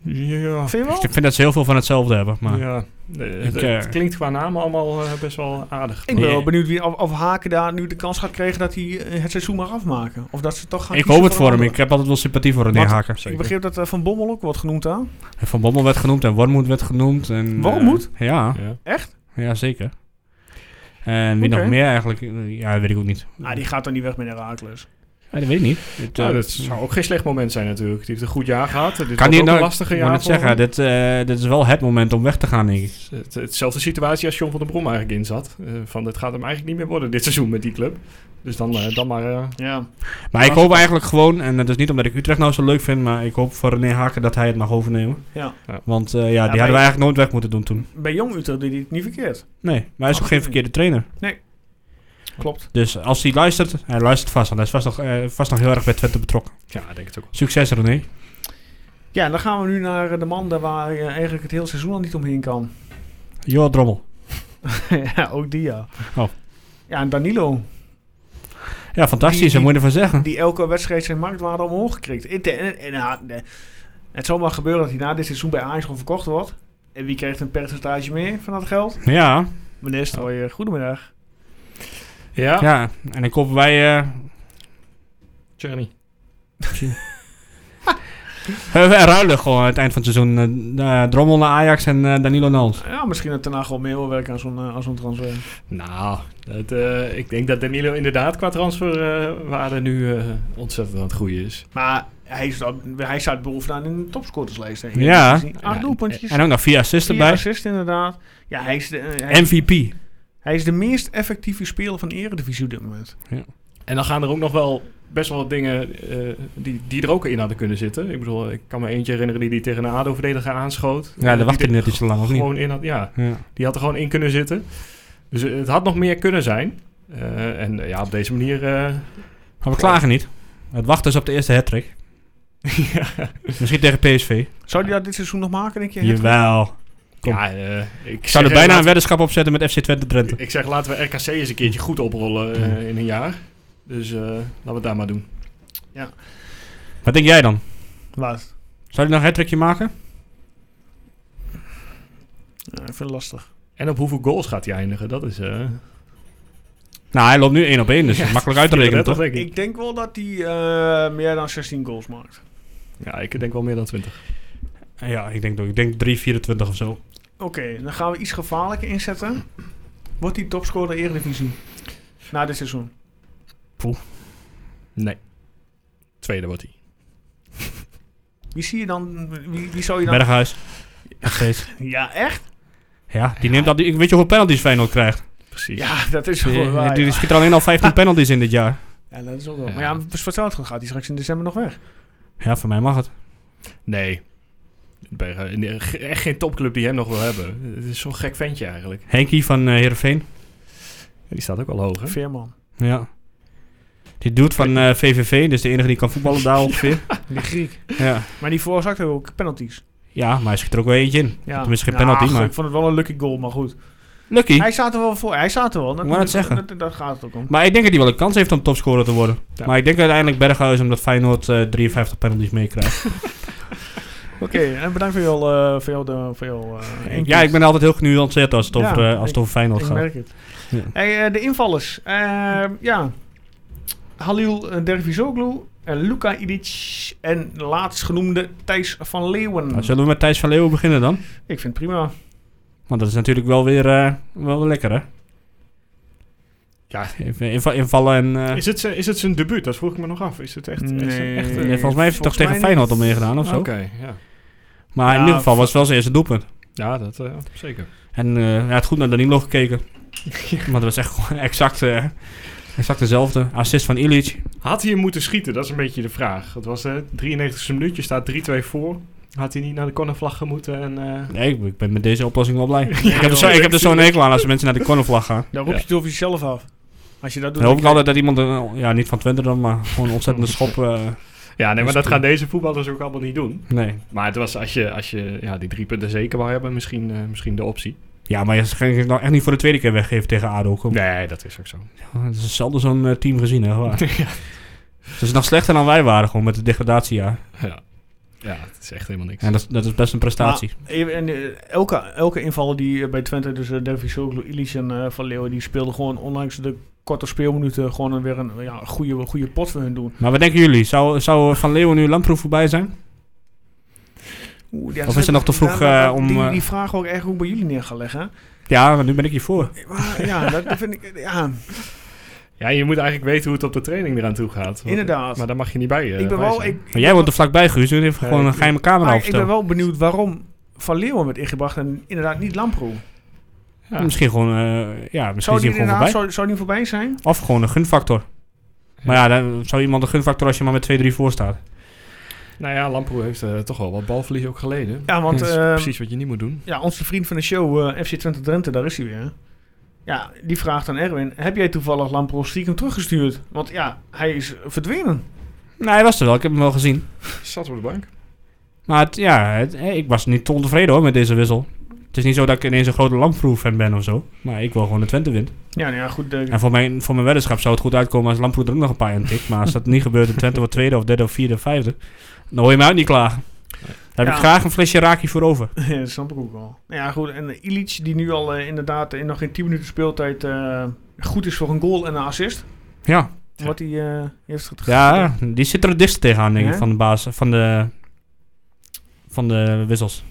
Ja, Vind je wel? Ik vind dat ze heel veel van hetzelfde hebben, maar... ja. Eh, Ik, het, eh, het klinkt qua namen allemaal eh, best wel aardig. Ik ben Nee. wel benieuwd wie, of, of Haken daar nu de kans gaat krijgen dat hij eh, het seizoen mag afmaken. Of dat ze toch gaan Ik kiezen hoop het voor een hem. Ik andere. heb altijd wel sympathie voor René Want- Haker. Ik begreep dat eh, Van Bommel ook wordt genoemd daar. Van Bommel werd genoemd en Wormoed werd genoemd. En, Wormoed? eh, ja, Ja. ja, zeker. En wie Oké. nog meer eigenlijk? Eh, Ja, weet ik ook niet. Ah, die gaat dan niet weg met Herakles. Ja, dat weet ik niet. Het, Nou, eh, dat zou ook geen slecht moment zijn natuurlijk. Die heeft een goed jaar gehad. Dit kan wordt niet ook nou, een lastige ik jaar wou net voor zeggen, hem. dit, eh, dit is wel het moment om weg te gaan, denk ik. Het- Hetzelfde situatie als John van der Brom eigenlijk in zat. Eh, van dit gaat hem eigenlijk niet meer worden dit seizoen met die club. Dus dan, eh, dan maar... eh, Ja. Maar ik hoop eigenlijk gewoon, en dat is niet omdat ik Utrecht nou zo leuk vind, maar ik hoop voor René Haken dat hij het mag overnemen. Ja. Want eh, ja, die hadden maar- we eigenlijk nooit weg moeten doen toen. Bij Jong Utrecht deed hij het niet verkeerd. Nee, maar hij is ook Absoluut geen verkeerde trainer. Klopt. Dus als hij luistert, hij luistert vast, want hij is vast nog, eh, vast nog heel erg bij Twente betrokken. ja, ik denk het ook. Succes René. Ja, dan gaan we nu naar eh, de man daar waar je eigenlijk het hele seizoen al niet omheen kan. Jo Drommel. ja, ook die ja. Oh. Ja, en Danilo. Ja, fantastisch, Die- daar moet je ervan zeggen. Die elke wedstrijd zijn marktwaarde omhoog gekrikt. En, en, en, ja, de- nou, het zal maar gebeuren dat hij na dit seizoen bij Ajax gewoon verkocht wordt. En wie krijgt een percentage meer van dat geld? Ja, Meneer Strooijer, goedemiddag. Ja, ja. En dan kopen wij eh, Tjerni. We ruilen gewoon aan het eind van het seizoen. eh, eh, Drommel naar Ajax en eh, Danilo naar ons. Ja, misschien dat daarna gewoon meer wil werken aan zo'n eh, aan zo'n transfer. Nou, dat, eh, ik denk dat Danilo inderdaad qua transferwaarde nu eh, ontzettend aan het groeien is. Maar hij staat, hij staat bovenaan in de topscorerslijst. hè. Ja. Acht Ja, doelpuntjes. En ook nog vier assists Vier erbij. assist inderdaad. Ja, hij is de, eh, hij, MVP. hij is de meest effectieve speler van de Eredivisie op dit moment. En dan gaan er ook nog wel best wel wat dingen eh, die, die er ook in hadden kunnen zitten. Ik bedoel, ik kan me eentje herinneren die die tegen een ADO-verdediger aanschoot. Ja, daar Eh, Die wacht er ik net iets te lang, of niet? Gewoon in had, ja, Ja. die had er gewoon in kunnen zitten. Dus eh, het had nog meer kunnen zijn. Eh, en eh, ja, op deze manier... eh, Maar we klagen niet. Het wachten is op de eerste hat-trick. ja, Misschien tegen PSV. Zou hij dat dit seizoen nog maken, denk je? Jawel. Kom. ja eh, ik Ik zou er zeg, bijna eh, een weddenschap op zetten met FC Twente Drenthe. Ik zeg, laten we RKC eens een keertje goed oprollen eh, in een jaar. Dus eh, laten we het daar maar doen. Wat denk jij dan? Wat? Zou hij nog een hat-trickje maken? Ja, ik vind het lastig. En op hoeveel goals gaat hij eindigen? Dat is eh Nou, hij loopt nu één op één, dus dat is makkelijk uit te rekenen, 34, toch? denk ik. Ik denk wel dat hij eh, meer dan 16 goals maakt. Ja, ik denk wel meer dan 20. Ja, ik denk, dat- ik denk 3, 24 of zo. Oké, dan gaan we iets gevaarlijker inzetten. Wordt hij topscorer Eredivisie? Na dit seizoen. Nee. Tweede wordt hij. Wie zie je dan? Wie, wie zou je dan... Berghuis. Nog steeds. Ja, echt? Ja, die neemt al die... Weet je hoeveel penalties Feyenoord krijgt? Precies. Ja, dat is gewoon Die, waar. die ja. schiet er alleen al 15 penalties in dit jaar. Ja, dat is ook wel. Ja. Maar ja, voor hetzelfde geld gaat hij straks in december nog weg. Ja, voor mij mag het. Nee. Bergen- nee, ge- Echt geen topclub die hem nog wil hebben. Het is zo'n gek ventje eigenlijk. Henkie van eh Heerenveen. Die staat ook wel hoog, hè? Veerman. Ja. Die dude van eh, VVV, dus de enige die kan voetballen daar ongeveer. Die Griek. Ja. Maar die veroorzaakte ook penalties. ja, maar hij schiet er ook wel eentje in. Ja. Tenminste, geen Ja, penalty, ach, maar- Ik vond het wel een lucky goal, maar goed. Lucky. Hij staat er wel voor. Hij staat er wel. Dat, Ik wou net dat- zeggen. dat- daar gaat het ook om. Maar ik denk dat hij wel een kans heeft om topscorer te worden. Ja. Maar ik denk uiteindelijk Berghuis, omdat Feyenoord eh, 53 penalties meekrijgt. Oké, en bedankt voor jouw... eh, voor jou, de, voor jou eh, ja, ik ben altijd heel genuanceerd als het Ja, over, eh, als ik- het over Feyenoord Ik gaat. merk het. Ja. Hey, eh, de invallers. Ehm, ja. Halil eh, Dervizoglu, en Luka Idic en laatst genoemde Thijs van Leeuwen. Nou, zullen we met Thijs van Leeuwen beginnen dan? Ik vind het prima. Want dat is natuurlijk wel weer, eh, wel weer lekker, hè? Ja. Even inva- invallen en... eh, Is het, zijn- is het zijn debuut? Dat vroeg ik me nog af. Is het echt... echt- Nee. echt nee, volgens mij heeft hij volgens toch tegen mij Feyenoord al niet. meegedaan of Oké, zo. ja. Maar in Ja, ieder geval was het wel zijn eerste doelpunt. Ja, dat eh, zeker. En eh, hij had goed naar Danilo gekeken. Want dat was echt gewoon exact, eh, exact dezelfde. Assist van Illich. Had hij hem moeten schieten? Dat is een beetje de vraag. Het was de 93ste minuut, je staat 3-2 voor. Had hij niet naar de cornervlag gemoeten? En, eh, Nee, ik, ik ben met deze oplossing wel blij. ik, heb joh. er zo, ik heb er zo'n hekel aan als mensen naar de cornervlag gaan. Dan roep je het over jezelf af. Als je dat doet... Dan hoop ik dan altijd dat iemand, eh, ja, niet van Twente dan, maar gewoon een ontzettende schop. eh, Ja, nee, maar dat Misschien. gaan deze voetballers ook allemaal niet doen. nee. Maar het was als je, als je ja, die drie punten zeker wil hebben, misschien, eh, misschien de optie. Ja, maar je ging het nou echt niet voor de tweede keer weggeven tegen ADO. Kom. Nee, dat is ook zo. Het is zelden zo'n eh, team gezien, hè. waar. Het is nog slechter dan wij waren, gewoon met de degradatiejaar. Ja. ja, het is echt helemaal niks. En dat, dat is best een prestatie. Maar even- en, eh, elke, elke invaller die eh, bij Twente, dus uh, Davy Soglu, Illich en eh, Van Leeuwen, die speelden gewoon ondanks de korte speelminuten gewoon een- weer een ja, goede, goede pot voor hun doen. Maar wat denken jullie? Zou, zou Van Leeuwen nu Lamproef voorbij zijn? Oeh, ja, Of is het nog te vroeg, daar- eh, om, Die, eh, die vraag ook echt hoe ik bij jullie neer gaan leggen. Ja, maar nu ben ik hier voor. Maar, ja, dat vind ik... Ja, Ja, je moet eigenlijk weten hoe het op de training eraan toe gaat. Want- Inderdaad. Maar daar mag je niet bij. eh, ik ben bij wel... zijn. Ik, Maar jij woont er vlakbij, Guus. Je heeft gewoon een geheime camera maar ik ben opgesteld. wel benieuwd waarom Van Leeuwen werd ingebracht en inderdaad niet Lamproe. Ja. Misschien gewoon, eh, ja, misschien Zou is die hij gewoon inderdaad voorbij. zou, zou die voorbij zijn? Of gewoon een gunfactor. Maar ja, dan zou iemand een gunfactor als je maar met 2-3 voor staat. Nou ja, Lamproe heeft eh, toch wel wat balverlies ook geleden. Ja, want... dat is eh, precies wat je niet moet doen. Ja, onze vriend van de show, eh, FC Twente Drenthe, daar is hij weer. Ja, die vraagt aan Erwin, heb jij toevallig Lampro stiekem teruggestuurd? Want ja, hij is verdwenen. Nee, hij was er wel. Ik heb hem wel gezien. Zat op de bank. Maar het, ja, het- eh, ik was niet ontevreden hoor met deze wissel. Het is niet zo dat ik ineens een grote Lamproef fan ben of zo. Maar ik wil gewoon de Twente wint. Ja, nou ja, goed. eh, En voor mijn, voor mijn weddenschap zou het goed uitkomen als Lamproef er ook nog een paar in tikt. Maar als dat niet gebeurt en Twente wordt tweede of derde of vierde of vijfde. Dan hoor je mij ook niet klagen. Daar heb Ja. ik graag een flesje raki voor over. ja, dat snap ik ook wel. Nou ja, goed. En eh, Illich, die nu al eh, inderdaad in nog geen 10 minuten speeltijd eh, goed is voor een goal en een assist. Ja, Wat hij eh, heeft het ja die zit er het dichtst tegenaan denk ik Ja? van de baas. Van de, van de wissels.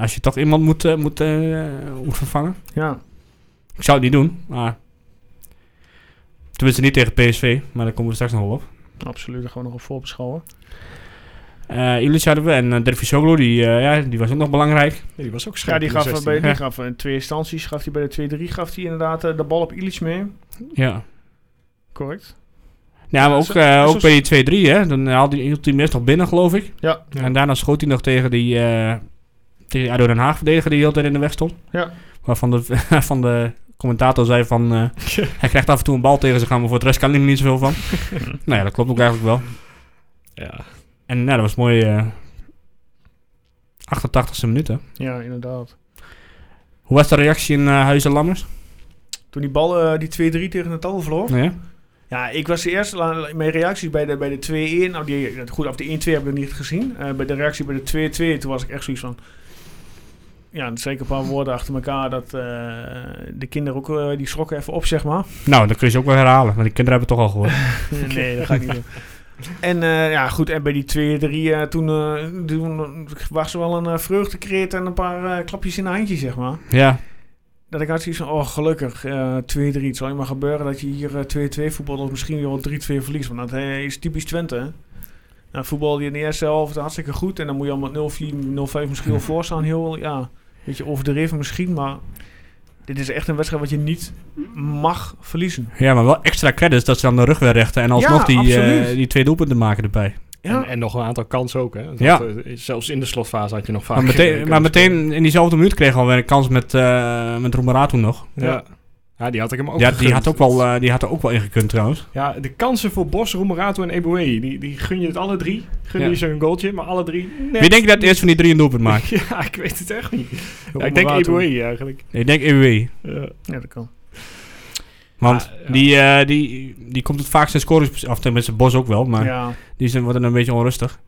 Als je toch iemand moet, eh, moet, eh, moet vervangen. Ja. Ik zou het niet doen, maar... Tenminste niet tegen PSV, maar daar komen we straks nog wel op. absoluut. daar Gewoon nog op voorbeschouwen. Eh Illich hadden we en uh, die, eh, ja, die was ook nog belangrijk. die was ook scherp. Ja, die in de gaf, eh, 16. bij, die ja. gaf in twee instanties, gaf hij bij de 2-3, gaf hij inderdaad eh, de bal op Illich mee. Ja, Correct. ja maar ook, Zo- eh, zo- ook bij die 2-3, hè. Dan haalde hij, hield hij hem eerst nog binnen, geloof ik. Ja. En daarna schoot hij nog tegen die... eh tegen ADO Den Haag verdediger die de hele tijd in de weg stond. Ja. Waarvan de, van de commentator zei van... eh, hij krijgt af en toe een bal tegen zich aan, maar voor de rest kan hij er niet zoveel van. nou ja, dat klopt ook eigenlijk wel. Ja. En nou, dat was mooi... eh 88ste minuut, hè. Ja, inderdaad. Hoe was de reactie in eh, Huizen Lammers? Nou Toen die bal eh, die 2-3 tegen het al verloor. Nee, hè? Ja, ik was de eerste. la- Mijn reacties bij de, bij de 2-1. Nou, die, goed, af de 1-2 heb ik nog niet gezien. Eh, bij de reactie bij de 2-2, toen was ik echt zoiets van. Ja, en zeker een paar woorden achter elkaar. Dat eh, de kinderen ook eh, die schrokken even op, zeg maar. Nou, dan kun je ze ook wel herhalen, want die kinderen hebben het toch al gehoord. nee, dat ga ik niet doen. En eh, ja, goed. En bij die 2-3, eh, toen, eh, toen was er wel een eh, vreugdekreet en een paar eh, klapjes in de handje, zeg maar. ja, Dat ik had zoiets van, oh gelukkig, eh 2-3. Het zal je maar gebeuren dat je hier eh, 2-2 voetbalt of misschien wel 3-2 verliest. Want dat eh, is typisch Twente. hè. Nou, voetbal je in de eerste helft hartstikke goed. En dan moet je al met 0-4, 0-5 misschien wel voorstaan. Heel, ja, een beetje overdreven misschien. Maar dit is echt een wedstrijd wat je niet mag verliezen. ja, maar wel extra credits dat ze aan de rug weer rechten en alsnog die, eh, absoluut. die twee doelpunten maken erbij. Ja, En, en nog een aantal kansen ook. Hè? Dat, Ja. eh, zelfs in de slotfase had je nog vaak. Maar meteen, maar meteen in diezelfde minuut kregen we alweer een kans met, eh met Roemerato nog. Ja. ja, die had ik hem ook. Ja, die, Oh, gegund. had ook wel, eh, die had er ook wel ingekund trouwens. Ja, de kansen voor Bos, Roemerato en Eboué, die, die gun je het alle drie. Gun Ja. je ze een goaltje, maar alle drie. Net. Wie denk je dat eerst van die drie een doelpunt maakt? Ja, ik weet het echt niet. Ja, ik denk Eboué eigenlijk. Ik denk EW. Ja. ja dat kan. Want Ah, ja. die, eh, die, die komt het vaakst in scorings... Of tenminste, Bos ook wel, maar Ja, die zijn, worden een beetje onrustig.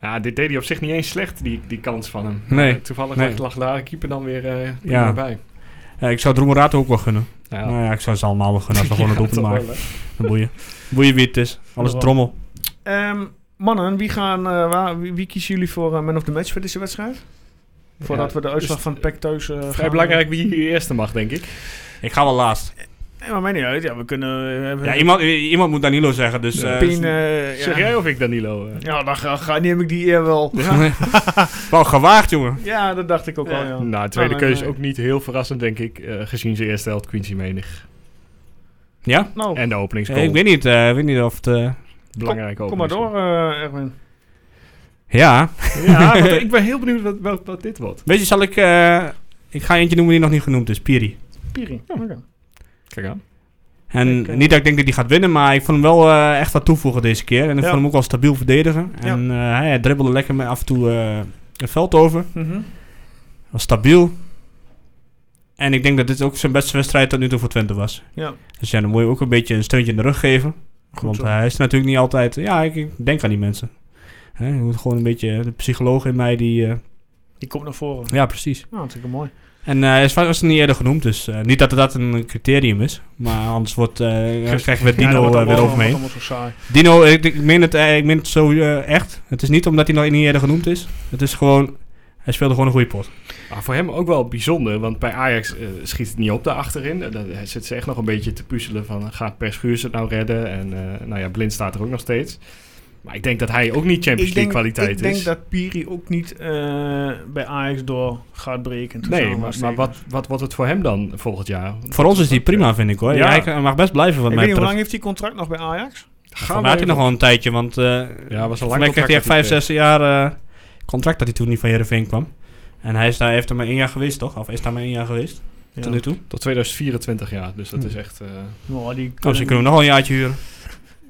Ja, dit deed hij op zich niet eens slecht, die, die kans van hem. Nee, Eh, toevallig nee. lag- lag daar de keeper dan weer eh Ja. ja. bij. Eh, ik zou het Roemerato ook wel gunnen. Ja. Nou ja, ik zou ze allemaal wel gunnen als we gewoon een doelpunt maken. Dan boeien. Boeien wie het is. Alles Ja. drommel. Ehm, mannen, wie, gaan, eh, waar, wie, wie kiezen jullie voor eh, man of the match voor deze wedstrijd? Voordat we de uitslag van PEC thuis... eh, dus Vrij gaan- belangrijk wie hier eerste mag, denk ik. Ik ga wel laatst. Nee, maar mij niet uit. Ja, we kunnen... eh, we- Ja, iemand, i- iemand moet Danilo zeggen, dus... eh, Pien, eh, Zeg ja. jij of ik, Danilo? eh? Ja, dan ga, ga- neem ik die eer wel. Wel gewaagd, jongen. Ja, dat dacht ik ook al. Ja. Nou, tweede Ah, nee, keuze nee. ook niet heel verrassend, denk ik. eh, gezien zijn eerste helft Quincy Menig. Ja? Nou, En de Eh, openingsgoal. ik weet niet, eh, ik weet niet of het... eh, Belangrijk ook. kom maar door, eh, Erwin. ja. Ja, want eh, ik ben heel benieuwd wat, wat, wat dit wordt. Weet je, zal ik... eh, ik ga eentje noemen die nog niet genoemd is. Piri. Piri. Oké. Kijk aan. En Ik, eh, niet dat ik denk dat hij gaat winnen, maar ik vond hem wel eh, echt wat toevoegen deze keer. En ik Ja. vond hem ook wel stabiel verdedigen. En eh, hij dribbelde lekker met af en toe eh, het veld over. Mhm. Was stabiel. En ik denk dat dit ook zijn beste wedstrijd tot nu toe voor Twente was. Ja, Dus ja, dan moet je ook een beetje een steuntje in de rug geven. goed want eh, zo. hij is natuurlijk niet altijd... eh, Ja, ik, ik denk aan die mensen. Hè, je moet gewoon een beetje... De psycholoog in mij die... eh, Die komt naar voren. ja, precies. Nou, hartstikke mooi. En eh, hij is- was niet eerder genoemd, dus eh, niet dat dat een criterium is. Maar anders wordt, eh krijgen we Ja, dat wordt Dino eh, allemaal- weer over wordt mee. allemaal zo saai. Dino, ik, ik meen het, eh, ik meen het zo eh, echt. Het is niet omdat hij nog niet eerder genoemd is. Het is gewoon, hij speelde gewoon een goede pot. Maar Ah, voor hem ook wel bijzonder, want bij Ajax eh, schiet het niet op daarachterin. Eh, Daar zit ze echt nog een beetje te puzzelen van, eh, gaat Per Schuurs het nou redden? En eh, nou ja, Blind staat er ook nog steeds. Maar ik denk dat hij ook niet Champions Ik League denk, kwaliteit dus- ik denk is. dat Piri ook niet eh, bij Ajax door gaat breken. tussen nee, maar, maar aanhalingstekens. wat, wat wordt het voor hem dan volgend jaar? Voor ons is die prima, vind ik hoor. Ja. Ja. hij mag best blijven wat Ik mij weet niet, hoe betreft. lang heeft hij contract nog bij Ajax? Van had hij nog wel een tijdje, want eh Ja, was een voor lang mij kreeg hij echt contract 5, dat 6 jaar eh, contract dat hij toen niet van Heerenveen kwam. En hij is daar, heeft er maar één jaar geweest toch? Of is daar maar één jaar geweest, Ja. tot nu toe. Tot 2024 jaar, dus dat Hmm. Hm. is echt... eh, Nou, die Nou, ze kunnen we nog een jaartje huren.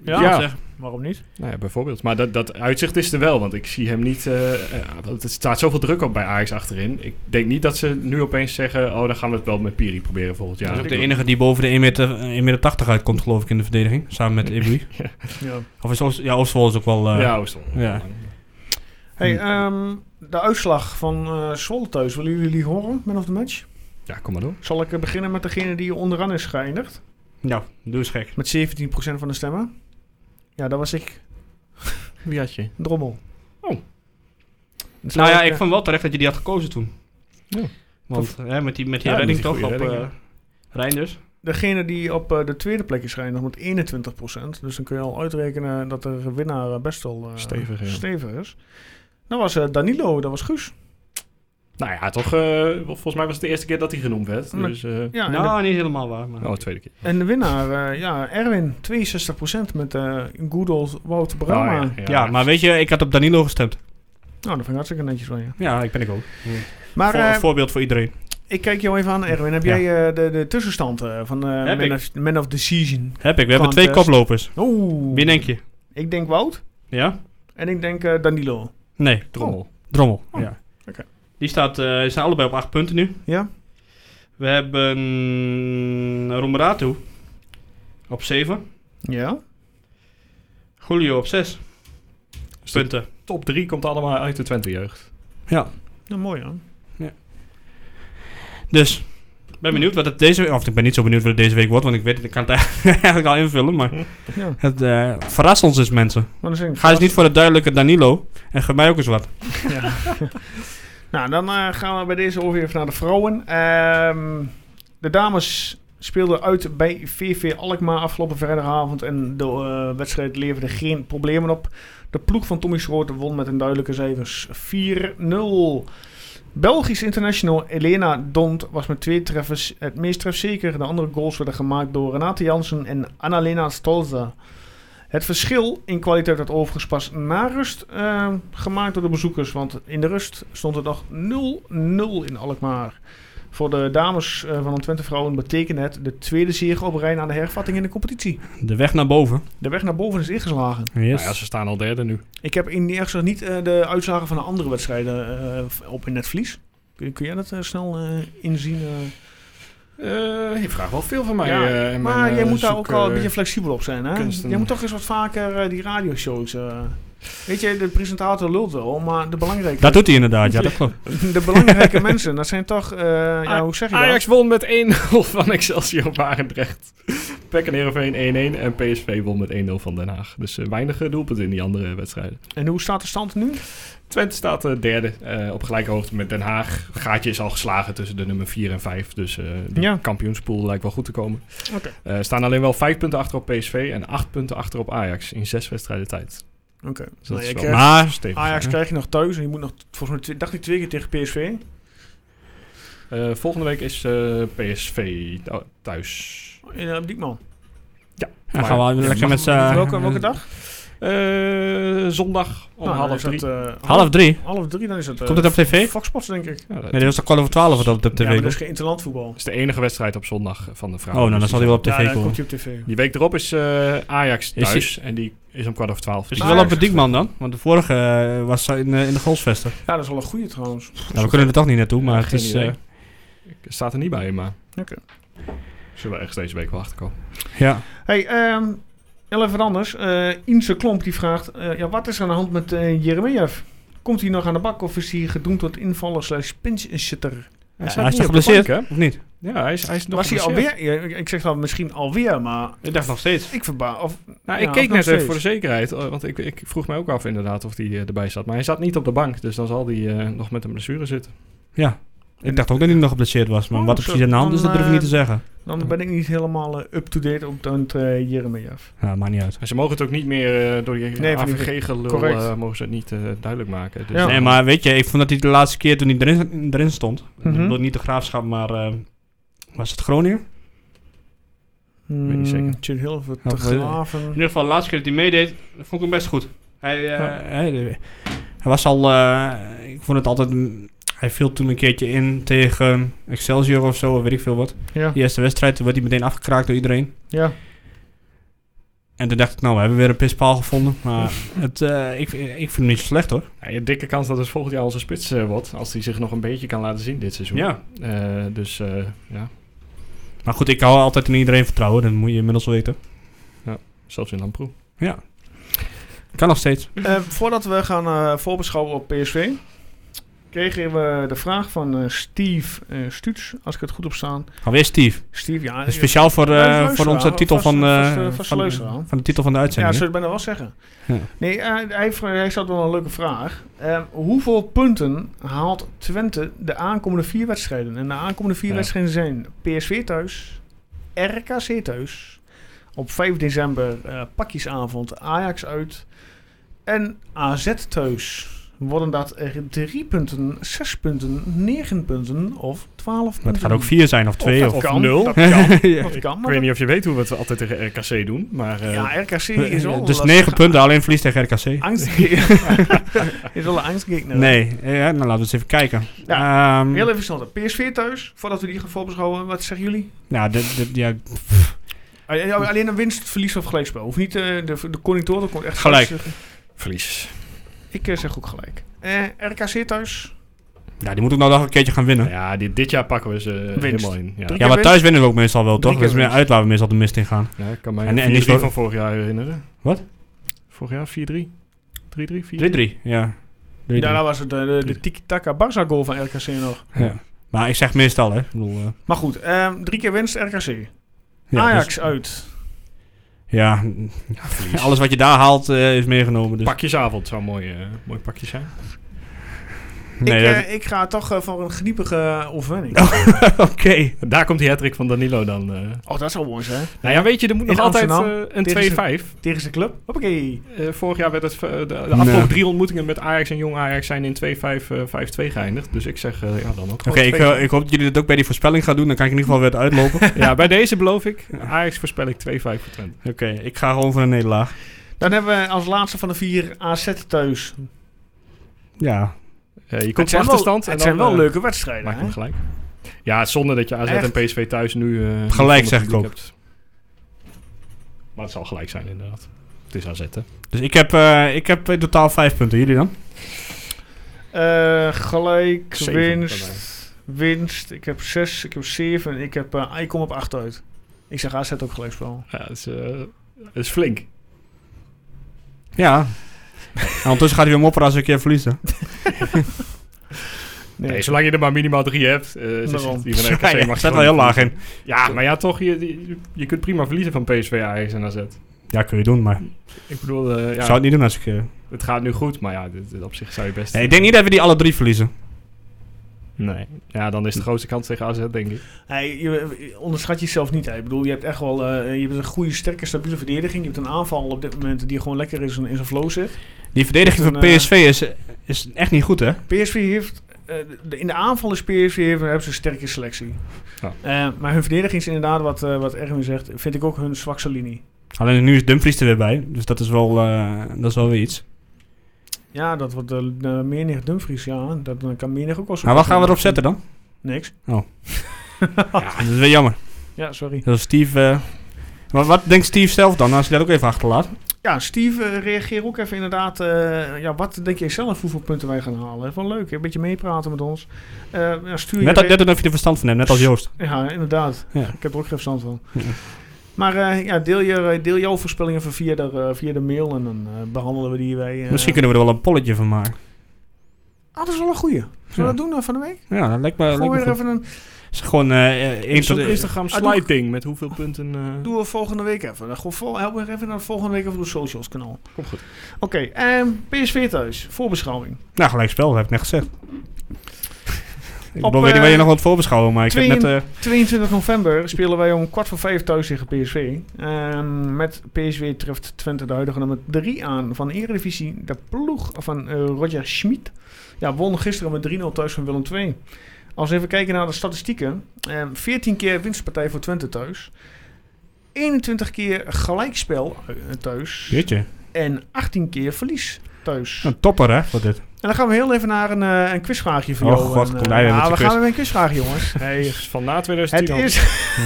Ja, Ja. Zeg. waarom niet? Nou ja, bijvoorbeeld. Maar dat, dat uitzicht is er wel, want ik zie hem niet... eh, eh, want er staat zoveel druk op bij Ajax achterin. Ik denk niet dat ze nu opeens zeggen... oh, dan gaan we het wel met Piri proberen volgend Dat jaar. is ook ik de ook. enige die boven de 1 meter, 1 meter 80 uitkomt, geloof ik, in de verdediging. Samen met Ibri. Ja. Of is Oost, ja, Oostwol is ook wel... eh, ja, Oostrom. ja. Hey, Hm. ehm, de uitslag van eh Zwolle thuis, willen jullie die horen, man of the match? ja, kom maar door. Zal ik eh, beginnen met degene die onderaan is geëindigd? Nou, doe eens gek. Met 17% van de stemmen. Ja, dat was ik, Wie had je? Drommel. Oh. Dus Nou ja, eh, ik vond wel terecht dat je die had gekozen toen. Ja. Want hè, met die, met die Ja, redding met die toch op goede eh redding, Reinders. Degene die op eh, de tweede plek is geëindigd met 21%. Dus dan kun je al uitrekenen dat de winnaar eh, best wel eh, Stevig, ja. stevig is. Dat was eh, Danilo, dat was Guus. Nou ja, toch... eh, volgens mij was het de eerste keer dat hij genoemd werd. Maar- Dus, eh Ja, en, nou, niet helemaal waar. Maar. Oh, de tweede keer. de, en de winnaar, eh, ja, Erwin, 62% met eh good old Wout Brama. Nou Oh, ja. maar weet je, ik had op Danilo gestemd. Nou, dat vind ik hartstikke netjes van je. Ja, ik ben ik ook. Maar Voor- eh, voorbeeld voor iedereen. ik kijk jou even aan, Erwin. Heb Ja. jij eh, de, de tussenstand eh, van eh, Heb man, ik. of, man of the Season? Heb ik. We hebben twee Contest. koplopers. Oeh. Wie denk je? Ik denk Wout Ja? en ik denk eh, Danilo. Nee, Drommel. Drommel. Oh, ja. oké. Die staat, eh, die staan allebei op acht punten nu. Ja? We hebben Romeratu op 7. Ja. Julio op 6 Dus de punten. Top 3 komt allemaal uit de Twente-jeugd. Nou, mooi hoor. Dus ik ben benieuwd wat het deze week... Of ik ben niet zo benieuwd wat het deze week wordt, want ik weet het, ik kan het eigenlijk al invullen. Maar Ja. het eh, verrast ons dus mensen. Maar dan zeg ik Ga eens niet voor het duidelijke Danilo en geef mij ook eens wat. Ja. nou, dan eh, gaan we bij deze over even naar de vrouwen. Ehm, de dames speelden uit bij VV Alkmaar afgelopen vrijdagavond. En de eh, wedstrijd leverde geen problemen op. De ploeg van Tommy Schroot won met een duidelijke cijfers 4-0. Belgisch international Elena Dont was met twee treffers het meest trefzeker. De andere goals werden gemaakt door Renate Jansen en Annalena Stolza. Het verschil in kwaliteit werd overigens pas na rust eh, gemaakt door de bezoekers. Want in de rust stond het nog 0-0 in Alkmaar. Voor de dames eh, van de Twente Vrouwen betekende het de tweede zege op rij na de hervatting in de competitie. De weg naar boven. De weg naar boven is ingeslagen. Nou ja, ze staan al derde nu. Ik heb in de eerste niet eh, de uitslagen van de andere wedstrijden eh, op in het vlies. Kun, kun jij dat eh, snel eh, inzien? eh? Eh, je vraagt wel veel van mij. Ja, eh, en maar mijn, jij eh, moet daar zoek, ook wel een eh, beetje flexibel op zijn. Hè? kunsten. Jij moet toch eens wat vaker eh, die radioshows... eh, Weet je, de presentator lult wel, maar de belangrijke... Dat doet hij inderdaad, ja, dat klopt. De belangrijke mensen, dat zijn toch, eh, ja, hoe zeg je dat? Ajax won met 1-0 van Excelsior Barendrecht. PEC en Heerenveen 1-1 en PSV won met 1-0 van Den Haag. Dus eh, weinig eh, doelpunten in die andere wedstrijden. En hoe staat de stand nu? Twente staat eh, derde eh, op gelijke hoogte met Den Haag. Gaatje is al geslagen tussen de nummer 4 en 5. Dus eh die Ja. kampioenspool lijkt wel goed te komen. Oké. Eh, staan alleen wel 5 punten achter op PSV en 8 punten achter op Ajax in 6 wedstrijden tijd. Oké. Dus dat Nee, is ik wel krijg- Maar stevig. Ajax krijg je nog thuis en je moet nog, volgens mij, twee- dacht ik twee keer tegen PSV. Eh, volgende week is eh, PSV thu- oh, thuis. In, eh, op Diekman. ja, gaan we Maar- lekker met z'n... welke, welke dag? eh, zondag om Nou, dan half is het, drie. eh, Half drie? half drie, dan is het... eh, Komt het op tv? Fox Sports, denk ik. Ja, dat Nee, dat was toch kwart over twaalf wat op de Ja, maar tv dat is komt? geen interland voetbal. is de enige wedstrijd op zondag van de Oh, nou, vrouwen. dan Dus zal hij wel op Ja, tv dan komen. komt hij op tv. Die week erop is eh, Ajax Is thuis. en die is om kwart over twaalf. Is Dus Ah, hij wel op het Diekman dan? Want de vorige eh, was in, eh, in de Golsvesten. Ja, dat is wel een goede trouwens. Nou, we kunnen er toch niet naartoe, maar het Geen is... idee. eh, het staat er niet bij, maar... Oké. Zullen we echt deze week wel achterkomen. ja. Hey, ehm heel even anders. Eh Inse Klomp die vraagt, eh, ja, wat is er aan de hand met eh Jeremejeff? Komt hij nog aan de bak of is hij gedoemd tot invaller slash pinch-sitter? Hij is staat niet toch op de geblesseerd, bank, of niet? Ja, hij is, hij is nog Was hij geblesseerd. alweer? Ja, ik- ik zeg dan misschien alweer, maar Ik dacht nog steeds. ik verbaas. Of, Nou, Ja, ik of keek nog net even steeds. voor de zekerheid, eh, want ik, ik vroeg mij ook af inderdaad of hij eh, erbij zat. Maar hij zat niet op de bank, dus dan zal hij eh, nog met een blessure zitten. Ja. Ik dacht ook dat hij nog geblesseerd was, maar Oh, wat er zo, precies aan de hand is, dan, dat durf ik niet te zeggen. dan ben ik niet helemaal eh, up-to-date op dan eh Jeremejeff. Ja, maakt niet uit. En ze mogen het ook niet meer eh, door die Nee, nee, van die- AVG-gelul correct. eh, mogen ze het niet eh, duidelijk maken. Dus Ja. Nee, maar weet je, ik vond dat hij de laatste keer toen hij erin, erin stond, ik Mhm. bedoel niet de graafschap, maar eh, was het Groningen? In Weet niet zeker. Tjit Hilver, Ja, te weet ik. graven. ieder geval, de laatste keer dat hij meedeed, vond ik hem best goed. Hij, eh, Ja. hij, hij was al, eh, ik vond het altijd, een- hij viel toen een keertje in tegen Excelsior of zo, weet ik veel wat. Ja, Die eerste wedstrijd, toen werd hij meteen afgekraakt door iedereen. ja. En toen dacht ik, nou, we hebben weer een pispaal gevonden. Maar het, eh, ik, ik vind hem niet zo slecht hoor. Ja, Nou, je hebt dikke kans dat het volgend jaar onze spits eh, wordt, als hij zich nog een beetje kan laten zien dit seizoen. Eh, dus eh, ja, Maar goed, ik hou altijd in iedereen vertrouwen. Dat moet je inmiddels weten. zelfs in Lamproe. Kan nog steeds. Eh, voordat we gaan eh, voorbeschouwen op PSV, kregen we de vraag van eh, Steve eh Stuts, als ik het goed op staan. Alweer Steve. Steve, ja. Speciaal voor, eh, Ja, een luisteraar, voor onze titel vast- van, eh, vast, eh, vast van, luisteraar. van de titel van de Ja, uitzending. zou hè? je bijna wel zeggen. Ja. Nee, eh, hij, vra- hij stelt wel een leuke vraag. Eh, hoeveel punten haalt Twente de aankomende vier wedstrijden? En de aankomende vier Ja. wedstrijden zijn PSV thuis, RKC thuis, op 5 december eh, pakjesavond Ajax uit en AZ thuis. Worden dat er drie punten, zes punten, negen punten of twaalf punten? maar het gaat ook vier zijn of twee. Of dat kan, nul. Dat kan, Ja. dat kan, Ik maar weet niet of je weet hoe we het altijd tegen RKC doen, maar... eh, ja, RKC is Ah, wel dus lastig. negen punten, alleen verlies tegen RKC. Angst is wel een angstgegner. Nee, ja, nou laten we eens even kijken. Ehm, Heel even snel. dan. PSV thuis, voordat we die gaan voorbeschouwen. Wat zeggen jullie? ja, dit- dit- ja, Ah, ja, Alleen een winst, verlies of gelijkspel. Hoeft niet eh, de, de conjunctor, dat komt echt Gelijk. vast zeggen. Verlies. Ik eh, zeg ook gelijk. Eh, RKC thuis. ja, die moet ook nou nog een keertje gaan winnen. Ja, dit, dit jaar pakken we ze eh, helemaal in. Ja, Drie Ja, keer maar winst. thuis winnen we ook meestal wel, toch? keer Dat is meer winst. uit waar we meestal de mist in gaan. Ja, ik kan mij En- en, en is wel- van vorig jaar herinneren. Wat? Vorig jaar 4-3? 3-3? 4-3? 3-3, ja. 3-3. Daarna was het eh, de, de tiki-taka Barca goal van RKC nog. Ja. Maar ik zeg meestal, hè. Ik bedoel, eh, Maar goed, eh, drie keer winst RKC. ja, Ajax dus- uit. ja, mm, alles wat je daar haalt eh, is meegenomen. Dus. Pakjesavond zou een mooi, eh, mooi pakje zijn. Nee, ik, dat- Oh. eh, ik ga toch eh, voor een geniepige eh, overwinning. Oké. Daar komt die hat van Danilo dan. eh. Oh, dat zou mooi zijn. Nou ja, weet je, er moet In nog altijd Amsterdam, eh, een tegen zijn- 2-5. Tegen zijn club. Hoppakee. Eh, vorig jaar werd het, eh, de, de afgelopen Nee. drie ontmoetingen met Ajax en Jong Ajax zijn in 2-5, eh, 5-2 geëindigd. Dus ik zeg, eh, ja dan ook Oké, gewoon ik, 2-5. eh, ik hoop dat jullie dat ook bij die voorspelling gaan doen. Dan kan ik in ieder geval weer uitlopen. Oké, Ja, bij deze beloof ik. Ajax voorspel ik 2-5 voor Twente. ik ga gewoon voor een nederlaag. Dan hebben we als laatste van de vier AZ thuis. Ja. Eh, je Het komt op zijn wel, achterstand. het zijn wel eh, leuke wedstrijden. Maak hè? hem gelijk. Ja, zonder dat je AZ Echt? en PSV thuis nu... eh, niet Gelijk, zonder zeg publiek ik ook. hebt. Maar het zal gelijk zijn inderdaad. Het is AZ, hè. Dus ik heb, eh, ik heb in totaal vijf punten. Jullie dan? Eh, gelijk, Zeven bij winst, winst. Ik heb 6, ik heb 7, ik heb... eh, ah, ik kom op 8 uit. Ik zeg AZ ook gelijkspel. Ja, het is, eh, het is flink. Ja. En ondertussen gaat hij weer mopperen als ik je verlies. hè. Dus, Nee. Nee, zolang je er maar minimaal drie hebt. eh, zit- Daarom. zit hier een RKC Ja, ja, mag ik zet wel gewoon- heel laag in. Ja, maar ja, toch. Je, je, je kunt prima verliezen van PSV, Ajax en AZ. Ja, kun je doen, maar Ik bedoel, eh, ik ja, zou het niet doen als ik... eh, het gaat nu goed. Maar ja, dit, dit op zich zou je best... Nee, ik denk niet dat we die alle drie verliezen. Nee. Ja, dan is de grootste kans tegen AZ, denk ik. Hey, je, je onderschat jezelf niet. hè. Ik bedoel, je hebt echt wel eh, je hebt een goede, sterke, stabiele verdediging. Je hebt een aanval op dit moment die gewoon lekker in zijn- in zijn flow zit. Die verdediging van Een, eh, PSV is, is echt niet goed, hè? PSV heeft... eh, de- in de aanval is PSV heeft, hebben ze een sterke selectie. Ja. Eh, maar hun verdediging is inderdaad, wat, eh, wat Erwin zegt, vind ik ook hun zwakste linie. Alleen nu is Dumfries er weer bij, dus dat is wel, eh, dat is wel weer iets. Ja, dat wordt de menig Dumfries, ja. Dat eh, kan menig ook wel zo. Maar wat gaan we erop zetten dan? Niks. Ja, dat is weer jammer. Ja, sorry. Dat is Steve... eh, maar wat denkt Steve zelf dan, als hij dat ook even achterlaat? Ja, Steve, eh, reageer ook even inderdaad. eh, ja, wat denk je zelf hoeveel punten wij gaan halen? Even leuk, hè? een beetje meepraten met ons. Eh, ja, stuur je Net, dat- re- net alsof je er verstand van hebt, net als Joost. Ja, inderdaad. Ja. Ik heb er ook geen verstand van. Ja. Maar eh, ja, deel, je, eh, deel jouw voorspellingen even via de, eh, via de mail en dan eh, behandelen we die wij. eh, Misschien kunnen we er wel een polletje van maken. Ah, dat is wel een goeie. Zullen we Ja. dat doen eh, van de week? Ja, dat lijkt me, lijkt me Gooi goed. weer even een... Het is gewoon eh, eh, één Zo'n tot- Instagram Ah, doe- sliding met hoeveel punten... eh, Doen we volgende week even. Dan Gewoon vol, help me even naar de volgende week even op de socials kanaal. Kom goed. Oké, ehm, en PSV thuis. Voorbeschouwing. Nou, gelijk spel, heb ik net gezegd. ik Op, bedoel, weet niet waar je eh, nog wat voorbeschouwen, maar ik heb net... eh, 22 november spelen wij om kwart voor vijf thuis tegen PSV. Ehm, met PSV treft Twente de huidige nummer 3 aan van de Eredivisie. De ploeg van eh, Roger Schmid. Ja, won gisteren met 3-0 thuis van Willem II. Als we even kijken naar de statistieken. ehm, 14 keer winstpartij voor Twente thuis. 21 keer gelijkspel eh, thuis. jeetje, En 18 keer verlies thuis. een topper hè, voor dit. En dan gaan we heel even naar een, eh, een quizvraagje voor Oh jou. god, En, komt eh, hij weer ja, we met die gaan quiz. weer met een quizvraagje, jongens. Nee, van na Het 2010 al. is... Hm.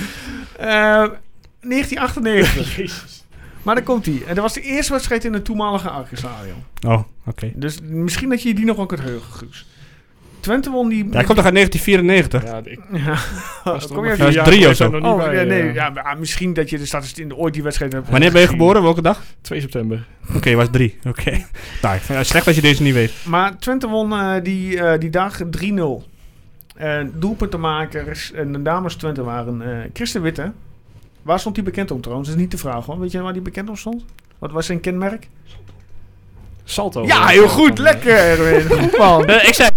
Eh, 1998. Maar daar komt hij. En dat was de eerste wedstrijd in het toenmalige Arcus-stadion. Oh, oké. Dus misschien dat je je die nog wel kunt heugen, Guus. Twente won die... Ja, ik kom toch uit 1994? Ja, ik Ja. was er Oh, Kom je nog even... vier drie jaar geleden of zo. nog niet Oh, bij, ja, nee, eh, ja, maar, ah, misschien dat je de statistiek ooit die wedstrijd hebt Wanneer ben je gezien. geboren? Welke dag? 2 september. Oké, was drie. Oké. nou, ik vind het slecht als je deze niet weet. Maar Twente won eh, die, eh, die dag 3-0. En doelpuntenmakers en de dames Twente waren eh Christen Witte. Waar stond hij bekend om trouwens? Dat is niet de vraag hoor. Weet je waar die bekend om stond? Wat was zijn kenmerk? Salto. ja, eh, heel van, goed. eh, Lekker Erwin. Goed man. ik zei...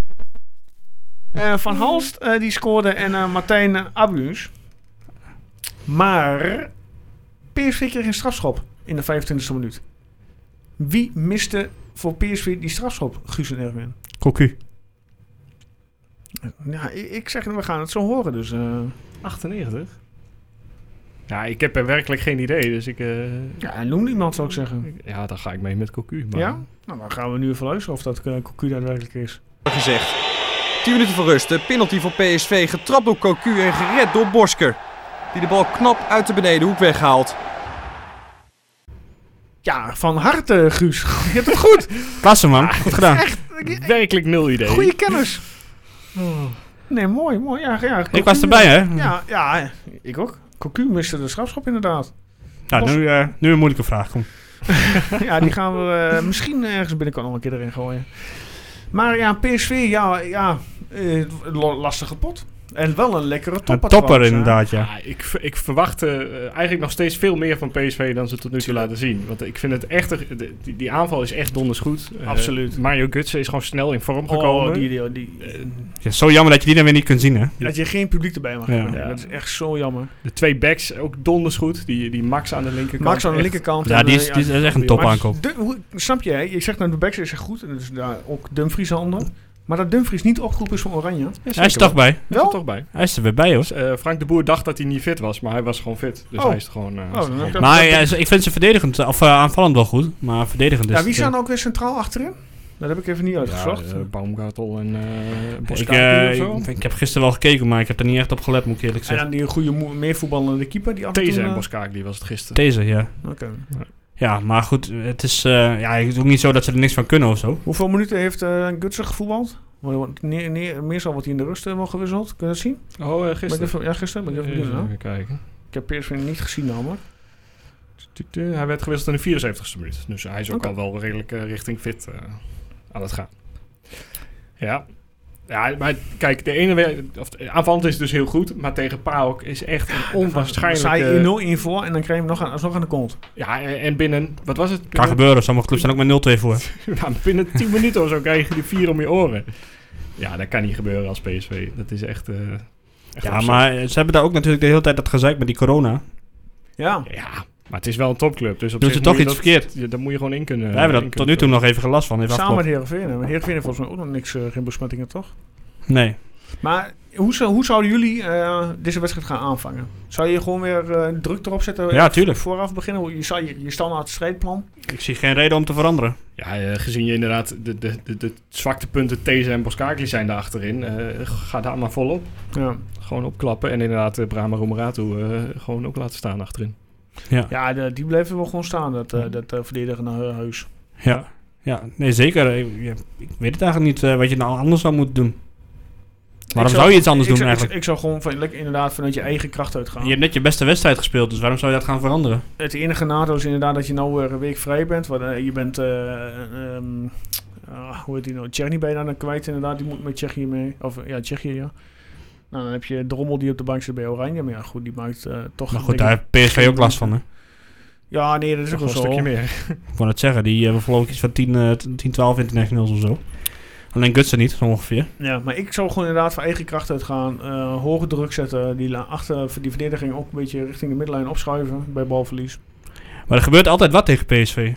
Eh, Van Halst eh, die scoorde en eh, Martijn Abuus. Maar PSV kreeg een strafschop in de 25e minuut. Wie miste voor PSV die strafschop, Guus en Erwin? Cocu. Ja, ik ik zeg, we gaan het zo horen. Dus, eh, 98? Ja, ik heb er werkelijk geen idee, dus ik... eh, ja, noem iemand zou ik zeggen. ik- ja, dan ga ik mee met Cocu. Maar Ja? Nou, dan gaan we nu even luisteren of dat eh, Cocu daadwerkelijk is. gezegd. 10 minuten voor rust. De penalty voor PSV. Getrapt door Cocu en gered door Bosker. Die de bal knap uit de benedenhoek weghaalt. Ja, van harte, Guus. Je hebt het goed. Klasse man, Ah, goed gedaan. Werkelijk nul idee. Goede kennis. Oh. Nee, mooi, mooi. Ja, ja, Cocu, Ik was erbij hè. Ja, ja, ik ook. Cocu miste de strafschop inderdaad. Nou, nu, eh, nu een moeilijke vraag. Kom. Ja, die gaan we eh, misschien ergens binnenkort nog een keer erin gooien. Maar ja, PSV, ja, ja eh, lo- lastige pot. En wel een lekkere Een topper. topper trouwens, hè. inderdaad, ja. Ja, ik, ver- ik verwachtte eh, eigenlijk nog steeds veel meer van PSV dan ze tot nu toe laten zien. Want ik vind het echt... een- de- die, die aanval is echt donders goed. Eh, Absoluut. Mario Gutsen is gewoon snel in vorm gekomen. Oh, die, die, die, Ja, Zo jammer dat je die dan weer niet kunt zien hè. dat je geen publiek erbij mag Ja. hebben. Ja. Dat is echt zo jammer. De twee backs ook donders goed. Die, die Max aan de linkerkant. Max aan de echt- linkerkant. Ja, en, die eh, is, die is echt een Maar top aankoop. Dum- hoe- snap je, hè? je zegt nou de backs is echt goed. En dus daar ook Dumfries handen. Maar dat Dumfries niet opgeroepen is voor Oranje. Hij is er toch bij. Hij is er Wel? toch bij. Hij is er weer bij hoor. Dus, eh, Frank de Boer dacht dat hij niet fit was, maar hij was gewoon fit. Dus Oh. hij is er gewoon... eh, hij is er dan- gewoon- dan- Maar dan- ja, ze- ik vind ze verdedigend, of eh, aanvallend wel goed, maar verdedigend is ja, wie het, eh, staan ook weer centraal achterin? Dat heb ik even niet uitgezocht. Ja, eh, Baumgartel en eh Ik, Boskapi eh, of zo. ik, ik heb gisteren wel gekeken, maar ik heb er niet echt op gelet, moet ik eerlijk en zeggen. dan die goede mo- meervoetballende keeper. Die af en toe, These en eh, Boskakli was het gisteren. Deze, ja. oké. Ja, maar goed, het is, eh, ja, het is ook niet zo dat ze er niks van kunnen of zo. Hoeveel minuten heeft eh Gutsen gevoetbald? Want- want ne- ne- Meestal wordt hij in de rust eh, wel gewisseld. Kun je dat zien? Ben Oh, eh, ik gisteren. Eh, even- ja, gisteren. Ben ik even benieuwd, Even, hè? kijken. Ik heb PSV niet gezien namelijk. Tuk, tuk. Hij werd gewisseld in de 74ste minuut. Dus hij is ook Oké. al wel redelijk eh, richting fit eh, aan het gaan. Ja. Ja, maar kijk, de ene... we- Of, eh, aanvallend is het dus heel goed, maar tegen PAOK is echt een onwaarschijnlijke... Zij 1-0 in voor en dan krijg je hem nog aan, alsnog aan de kont. Ja, en en binnen... Wat was het? Kan Binnen- gebeuren, sommige clubs zijn ook met 0-2 voor. Nou, binnen 10 minuten of zo krijg je die vier om je oren. Ja, dat kan niet gebeuren als PSV. Dat is echt. eh, echt Ja, absurd. maar ze hebben daar ook natuurlijk de hele tijd dat gezeik met die corona. Ja. Ja, maar het is wel een topclub. Dus op Doen zich ze toch moet je iets dat- verkeerd. ja, daar moet je gewoon in kunnen. Daar hebben we in dat tot nu toe kunnen nog even gelast van. Even Samen met afkloppen. Heerenveen. hè? Maar Heerenveen heeft volgens mij ook nog niks, eh, geen besmettingen toch? Nee. Maar hoe, zou- hoe zouden jullie eh, deze wedstrijd gaan aanvangen? Zou je gewoon weer eh, druk erop zetten? eh, Ja, tuurlijk. Vooraf beginnen? Je, zou je, je standaard strijdplan? Ik zie geen reden om te veranderen. Ja, eh, gezien je inderdaad de, de, de, de zwakte punten These en Boskakli zijn daar achterin. eh, ga daar maar volop. Ja. Gewoon opklappen. En inderdaad eh, Brahma Roemerato eh, gewoon ook laten staan achterin. Ja, de- die bleven wel gewoon staan, dat, eh dat eh, verdedigende eh, heus. Ja, ja. nee zeker. Ik, ik weet het eigenlijk niet eh, wat je nou anders zou moeten doen. Waarom zou, je iets anders ik doen zou- ik- eigenlijk? Ik, zou gewoon van, lekker inderdaad vanuit je eigen kracht uitgaan. je hebt net je beste wedstrijd gespeeld, dus waarom zou je dat gaan veranderen? Het enige nadeel is inderdaad dat je nou weer een week vrij bent. Want, eh, je bent, eh, ehm, ah, hoe heet die nou, Tsjechië bijna dan kwijt inderdaad. Die moet met Tsjechië mee. Of eh, ja, Tsjechië, ja. Nou, dan heb je Drommel die op de bank zit bij Oranje. Maar ja, goed, die maakt eh, toch... Maar goed, denk daar ik- heeft PSV ook last van, hè? Ja, nee, dat is ook Nog wel wel een zo. stukje meer. Ik wou net zeggen, die hebben geloof ik iets van 10, eh, 10 12 internationals of zo. Alleen Gutsen niet, zo ongeveer. Ja, maar ik zou gewoon inderdaad van eigen kracht uitgaan. eh hoge druk zetten. Die, la- achter, die verdediging ook een beetje richting de middenlijn opschuiven bij balverlies. Maar er gebeurt altijd wat tegen PSV.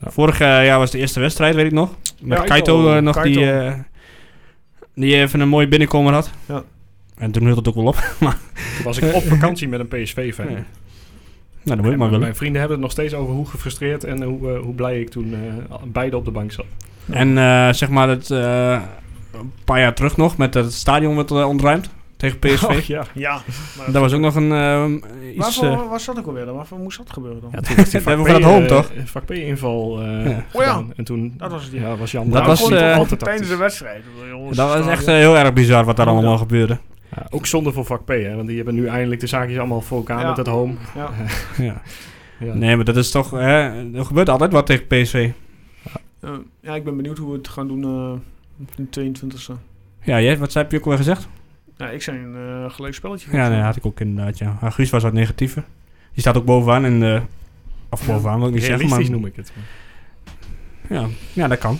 Ja. Vorig eh, jaar was de eerste wedstrijd, weet ik nog. Met Ja, Kaito, Kaito, eh, nog, Kaito. die, eh, die even een mooie binnenkomer had. Ja. En toen hield het ook wel op. Nou, Toen was ik op vakantie met een PSV-fan. eh, Ja. Nou, dat moet je maar willen. Mijn vrienden hebben het nog steeds over hoe gefrustreerd en hoe, eh, hoe blij ik toen eh, beide op de bank zat. En eh, zeg maar, het, eh, een paar jaar terug nog, met het stadion werd eh, ontruimd tegen PSV. Oh, ja. Ja. Maar Daar was ook nog een eh, iets... waarvoor eh, was dat ook alweer dan? Waarvoor moest dat gebeuren dan? ja, toen was die Vak van het P, home, eh, toch? Vak P-inval. eh Ja. Oh ja. gedaan. En toen Dat was het, ja. ja, was Jan Dat Braaf was, niet eh, altijd tijdens de tactisch. wedstrijd. jongens, Dat was staan echt we- eh, heel erg bizar wat daar allemaal gebeurde. Ja, ook zonde voor Vak P, hè, want die hebben nu eindelijk de zaakjes allemaal voor elkaar Ja. met het home. Ja. Ja. Ja. Nee, maar dat is toch... eh, er gebeurt altijd wat tegen PSV. Eh, ja, ik ben benieuwd hoe we het gaan doen eh, op de 22e. Ja, jij, wat heb je ook wel gezegd? Ja, ik zijn een eh, gelijk spelletje. Ja, nee, had ik ook inderdaad, ja. Maar Guus was wat negatiever. Die staat ook bovenaan en... eh of bovenaan, wil ik niet zeggen, maar... Realistisch noem ik het. Ja, ja dat kan.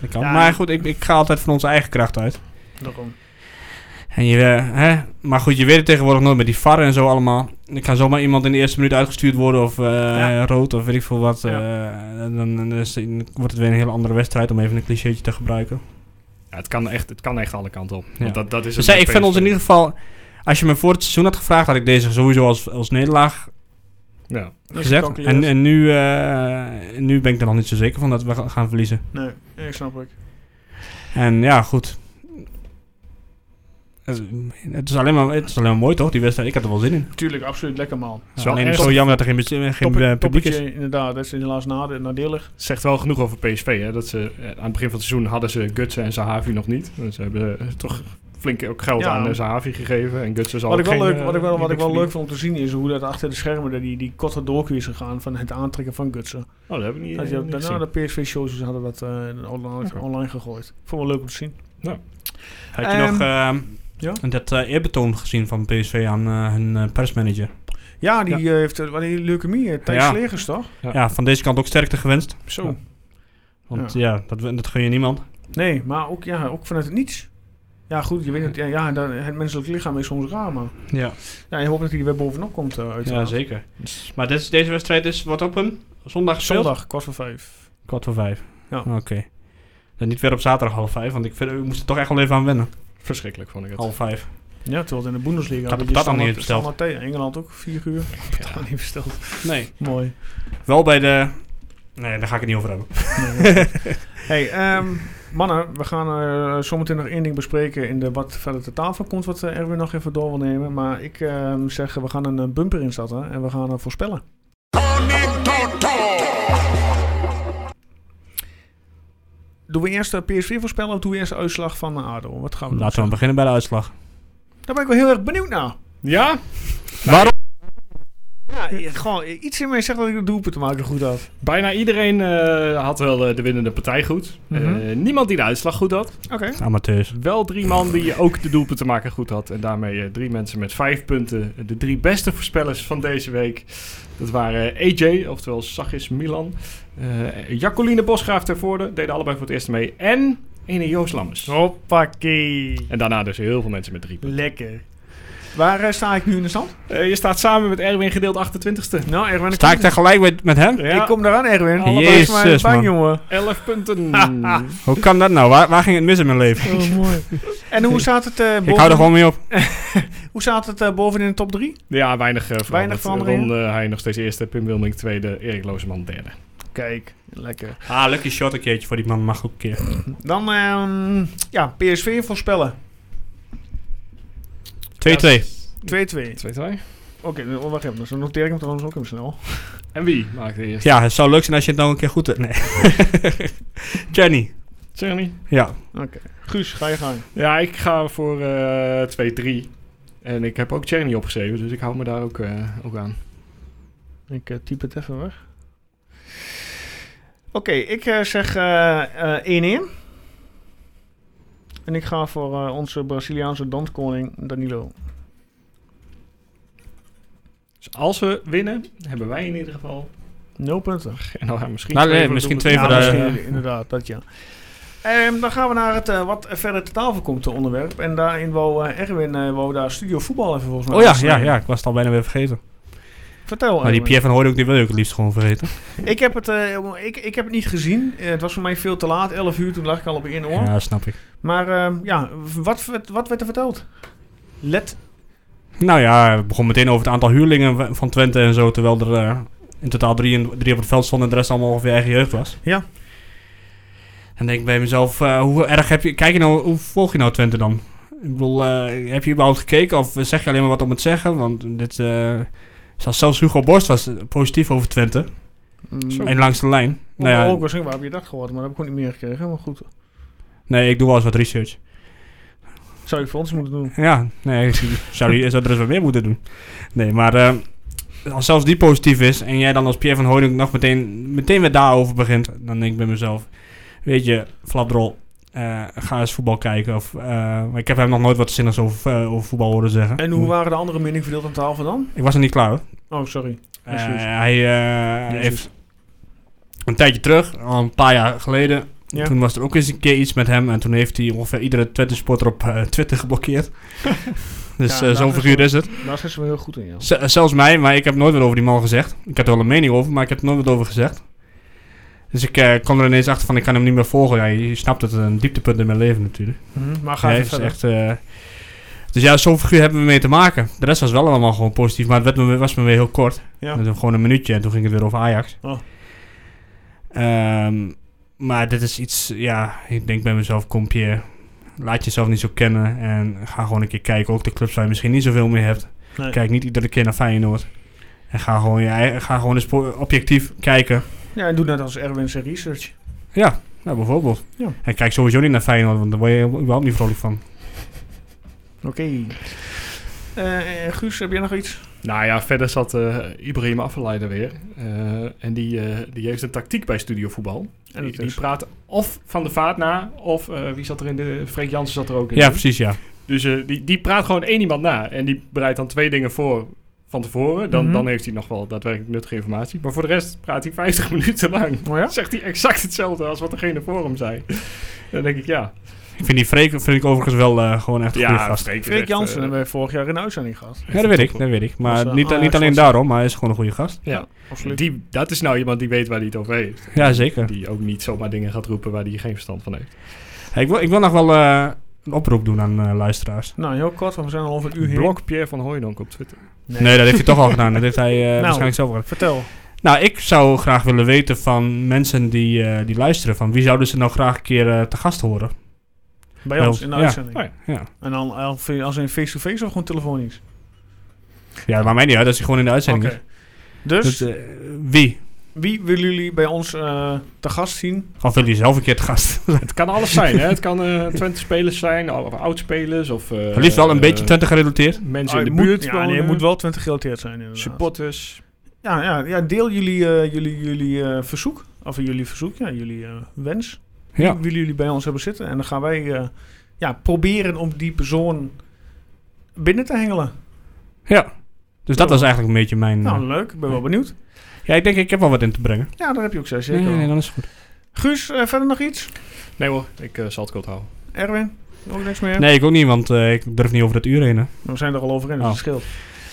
Dat kan. Ja. Maar goed, ik, ik ga altijd van onze eigen kracht uit. Daarom. En je, eh, hè? Maar goed, je weet het tegenwoordig nooit met die VAR en zo allemaal. Ik kan zomaar iemand in de eerste minuut uitgestuurd worden of eh, Ja. rood of weet ik veel wat. Ja. eh, en dan, dan is, dan wordt het weer een hele andere wedstrijd om even een clichétje te gebruiken. Ja, het, kan echt, het kan echt alle kanten op. Ja. Want dat, dat is Dus het hey, met ik vind PSV. ons in ieder geval... Als je me voor het seizoen had gevraagd, had ik deze sowieso als, als nederlaag Ja. gezegd. En, en nu, eh, nu ben ik er nog niet zo zeker van dat we ga- gaan verliezen. Nee, ik snap ik. En ja, goed. Het, het is alleen maar, het is alleen maar mooi toch, die wedstrijd. Ik had er wel zin in. Tuurlijk, absoluut lekker man. is wel alleen erg- zo jammer dat er geen, bes- eh, geen eh, Toppe- publiek is. toppetje, inderdaad, dat is helaas nade- nadelig. Zegt wel genoeg over PSV. Hè? Dat ze, eh, aan het begin van het seizoen hadden ze Gutsen en Zahavi nog niet. Dus ze hebben eh, toch flink ook geld Ja. aan eh, Zahavi gegeven. En Gutsen zal Wat ik, ook wel geen, leuk, eh, wat ik wel, wat ik wel verdienen. leuk vond om te zien is hoe dat achter de schermen dat die, die korte docu is gegaan van het aantrekken van Gutsen. Oh, dat hebben we niet, Dat eh, je niet daarna gezien. de PSV-shows hadden dat eh, online, Oké. online gegooid. Vond wel leuk om te zien. Had je Ehm, nog ehm, ja? dat eh, eerbetoon gezien van PSV aan eh, hun eh, persmanager? Ja, die eh, heeft eh, wat die leukemie, eh, Thijs Ja. Slegers toch? Ja. Ja. van deze kant ook sterkte gewenst. Zo. Ja. Want ja, dat, dat gun je niemand. Nee, maar ook, ja, ook vanuit het niets. Ja, goed, je weet het. Ja, ja dan- het menselijk lichaam is soms raar, maar... Ja, Ja, je hoopt dat hij er weer bovenop komt, eh ja uiteraard. zeker. Maar dit is- deze wedstrijd is wat op hem? Zondag gespeeld? Zondag, kwart voor vijf. Kwart voor vijf. Ja. Oké. Dan niet weer op zaterdag half vijf, want ik, vind, ik moest er toch echt wel even aan wennen. Verschrikkelijk vond ik het. Half vijf. Ja, terwijl het in de Bundesliga... Had ik dat dan standaard- niet besteld? standaard tegen Engeland ook, vier uur. Dat had ik niet besteld. Nee. Mooi. Wel bij de... Nee, daar ga ik het niet over hebben. hey, ehm, mannen, we gaan eh, zometeen nog één ding bespreken in de wat verder te tafel komt, wat eh, Erwin nog even door wil nemen. Maar ik ehm, zeg, we gaan een eh, bumper inzetten en we gaan eh, voorspellen. Doen we eerst eh, PSV voorspellen of doen we eerst de uitslag van eh, ADO? Wat gaan we doen? Laten we maar beginnen bij de uitslag. Daar ben ik wel heel erg benieuwd naar. Ja? Waarom? Ja, i- gewoon i- iets in mij zegt dat ik de doelpunt maken goed had. Bijna iedereen eh, had wel eh, de winnende partij goed. Eh, Mhm. niemand die de uitslag goed had. Oké. Amateurs. Wel drie man die ook de doelpunten maken goed had. En daarmee eh, drie mensen met vijf punten. De drie beste voorspellers van deze week. Dat waren AJ, oftewel Sagis Milan. eh Jacqueline Bosgraaf ter voorde. Deden allebei voor het eerst mee. En ene Joost Lammers. Hoppakee. En daarna dus heel veel mensen met drie punten. Lekker. Waar eh, sta ik nu in de stand? Eh, je staat samen met Erwin gedeeld 28ste. Nou, Erwin. Sta ik daar gelijk met, met hem? Ja, Ik kom eraan, Erwin. Allebei is maar Jezus, bang, man. jongen. 11 punten. Hoe kan dat nou? Waar, waar ging het mis in mijn leven? Oh, mooi. En hoe staat het, eh, Ik hou bovenin, er gewoon mee op. hoe staat het eh, bovenin de top 3? Ja, weinig uh, Weinig veranderingen? Ron eh, Heijn nog steeds eerste, Pim Wilming tweede, Erik Looseman derde. Kijk, lekker. Ah, lucky shot een keertje voor die man mag ook een keer. Dan, ehm, ja, PSV voorspellen. 2-2. 2-2. 2-2. Oké, nou, wacht even. Dus dan noteer ik hem trouwens ook even snel. En wie maakt de eerste? Ja, het zou leuk zijn als je het nou een keer goed hebt. Nee. Jenny. Oh Tjerni? Ja. Guus, ga je gang. Ja, ik ga voor eh 2-3. En ik heb ook Tjerni opgeschreven, dus ik hou me daar ook, eh, ook aan. Ik eh, typ het even weg. Oké, ik eh, zeg eh, eh, 1-1. En ik ga voor eh, onze Braziliaanse danskoning Danilo. Dus als we winnen, hebben wij in ieder geval... 0 punten. En dan gaan we misschien Nou, nee, voor de misschien doelpunt. twee ja, voor de- misschien, inderdaad, dat ja. Ehm, dan gaan we naar het eh, wat verder te tafel komt te onderwerp. En daarin wou eh, Erwin eh, wou daar studio voetbal even volgens mij. Oh ja, ja, aansnijden. ja, ik was het al bijna weer vergeten. Vertel. Maar die Erwin. Pierre van Hooydonk, die wil je ook het liefst gewoon vergeten. Ik heb, het, eh, ik, ik heb het niet gezien. Eh, het was voor mij veel te laat. 11 uur, toen lag ik al op één oor. Ja, snap ik. Maar ehm, ja, wat, werd- wat werd er verteld? Let. Nou ja, het begon meteen over het aantal huurlingen van Twente en zo. Terwijl er eh, in totaal drie, in- drie op het veld stonden en de rest allemaal ongeveer eigen jeugd was. Ja. En denk ik bij mezelf, eh, hoe erg heb je... Kijk je nou, hoe volg je nou Twente dan? Ik bedoel, eh, heb je überhaupt gekeken of zeg je alleen maar wat om het zeggen? Want dit... eh, zelfs- zelfs Hugo Borst was eh, positief over Twente. Mm, En langs de lijn. Nou ja, ook waarschijnlijk, waar heb je dat gehoord? Maar dat heb ik gewoon niet meer gekregen. Maar goed, nee, ik doe wel eens wat research. zou je voor ons moeten doen. Ja, nee, ik zou, die, zou er eens wat meer moeten doen. Nee, maar eh, als zelfs die positief is en jij dan als Pierre van Hooydonk nog meteen, meteen weer daarover begint, dan denk ik bij mezelf, weet je, flapdrol, eh, ga eens voetbal kijken. Of, eh, maar ik heb hem nog nooit wat zinnigs over, eh, over voetbal horen zeggen. En hoe waren de andere meningen verdeeld aan tafel dan? Ik was er niet klaar hoor. Oh, sorry. Eh, Excuus. hij eh, Jezus. heeft een tijdje terug, al een paar jaar geleden. Ja. Toen was er ook eens een keer iets met hem. En toen heeft hij ongeveer iedere Twitter-sporter op eh, Twitter geblokkeerd. dus Ja, nou, eh, dat zo'n is figuur wel- is het. Daar zijn ze wel heel goed in, ja. Z- eh, zelfs mij, maar ik heb nooit wat over die man gezegd. Ik had er wel een mening over, maar ik heb er nooit wat over gezegd. Dus ik eh kwam er ineens achter van, ik kan hem niet meer volgen. Ja, je, je snapt het, een dieptepunt in mijn leven natuurlijk. Mhm, maar ga Hij even is verder. echt... eh, dus ja, zo'n figuur hebben we mee te maken. De rest was wel allemaal gewoon positief, maar het werd me, was me weer heel kort. Ja. Met een- gewoon een minuutje en toen ging het weer over Ajax. Oh. Ehm, maar dit is iets, ja, ik denk bij mezelf, kom je, laat jezelf niet zo kennen en ga gewoon een keer kijken. Ook de clubs waar je misschien niet zoveel mee hebt. Nee. Kijk niet iedere keer naar Feyenoord. En ga gewoon, je, eigen- ga gewoon eens po- objectief kijken. Ja, en doe net als Erwin zijn research. Ja, nou bijvoorbeeld. Ja. En kijk sowieso niet naar Feyenoord, want daar word je überhaupt niet vrolijk van. Oké. Eh, eh, Guus, heb jij nog iets? Nou ja, verder zat eh, Ibrahim Afleider weer. Eh, en die, eh, die heeft een tactiek bij Studio Voetbal. En Die, dat die is... praat of van de vaart na, of eh, wie zat er in de... Freek Jansen zat er ook in. Ja, precies, ja. Dus eh, die, die praat gewoon één iemand na. En die bereidt dan twee dingen voor van tevoren. Dan, Mhm. dan heeft hij nog wel daadwerkelijk nuttige informatie. Maar voor de rest praat hij 50 minuten lang. Oh ja? Zegt hij exact hetzelfde als wat degene voor hem zei. Dan denk ik, ja. Ik vind die Freek vind ik overigens wel eh, gewoon echt een goede gast. Freek eh, Jansen hebben we vorig jaar in de uitzending gehad. Ja, dat weet ik, dat weet ik. Maar eh, niet, Ajax niet alleen was- daarom, maar hij is gewoon een goede gast. Ja, Absoluut. die, dat is nou iemand die weet waar hij het over heeft. Ja, zeker. Die ook niet zomaar dingen gaat roepen waar hij geen verstand van heeft. Hey, ik, wil, ik wil nog wel eh, een oproep doen aan eh, luisteraars. Nou, heel kort, want we zijn al over een uur heen. Blok Pierre van Hooijdonk op Twitter. Nee. Nee, dat heeft hij toch al gedaan. Dat heeft hij eh, waarschijnlijk zelf al gedaan. Vertel. Nou, ik zou graag willen weten van mensen die, eh, die luisteren. Van wie zouden ze nou graag een keer eh, te gast horen? Bij Wel, ons, in de ja. uitzending. Oh ja. Ja. En dan als als in face-to-face of gewoon telefonisch? Ja, dat maakt mij niet uit. Dat is gewoon in de uitzending. Oké. is. Dus, Dus, eh, wie? wie willen jullie bij ons eh, te gast zien? Of wil je zelf een keer te gast? Het kan alles zijn, hè? Het kan eh Twente-spelers zijn, of oud-spelers, of... eh, Het liefst wel een eh, beetje Twente gerelateerd. Mensen Ah, in de je moet- buurt Ja, wonen, nee, het moet wel 20 gerelateerd zijn inderdaad. supporters. Ja, ja, ja, deel jullie, eh, jullie, jullie eh, verzoek. Of jullie verzoek, ja, jullie eh, wens. Ja. Wie willen jullie bij ons hebben zitten? En dan gaan wij eh, ja, proberen om die persoon binnen te hengelen. Ja. Dus dat was eigenlijk een beetje mijn... eh, Nou, leuk. Ik ben wel benieuwd. ja, ik denk ik heb wel wat in te brengen. Ja, daar heb je ook zes, Nee, zeker nee, wel. dan is het goed. Guus, eh, verder nog iets? Nee hoor, ik eh, zal het kort houden. Erwin? Ook niks meer? Nee, ik ook niet, want eh, ik durf niet over het uur heen. hè. We zijn er al over in, dus Oh. het scheelt.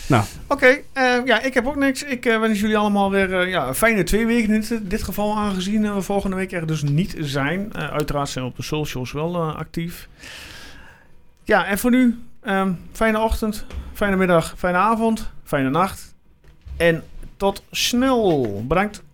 Nou. Oké, eh, ja, ik heb ook niks. Ik eh, wens jullie allemaal weer eh, ja, een fijne twee weken in dit, dit geval, aangezien eh, we volgende week er dus niet zijn. Eh, uiteraard zijn we op de socials wel eh, actief. Ja, en voor nu, ehm, fijne ochtend, fijne middag, fijne avond, fijne nacht. En tot snel. Bedankt.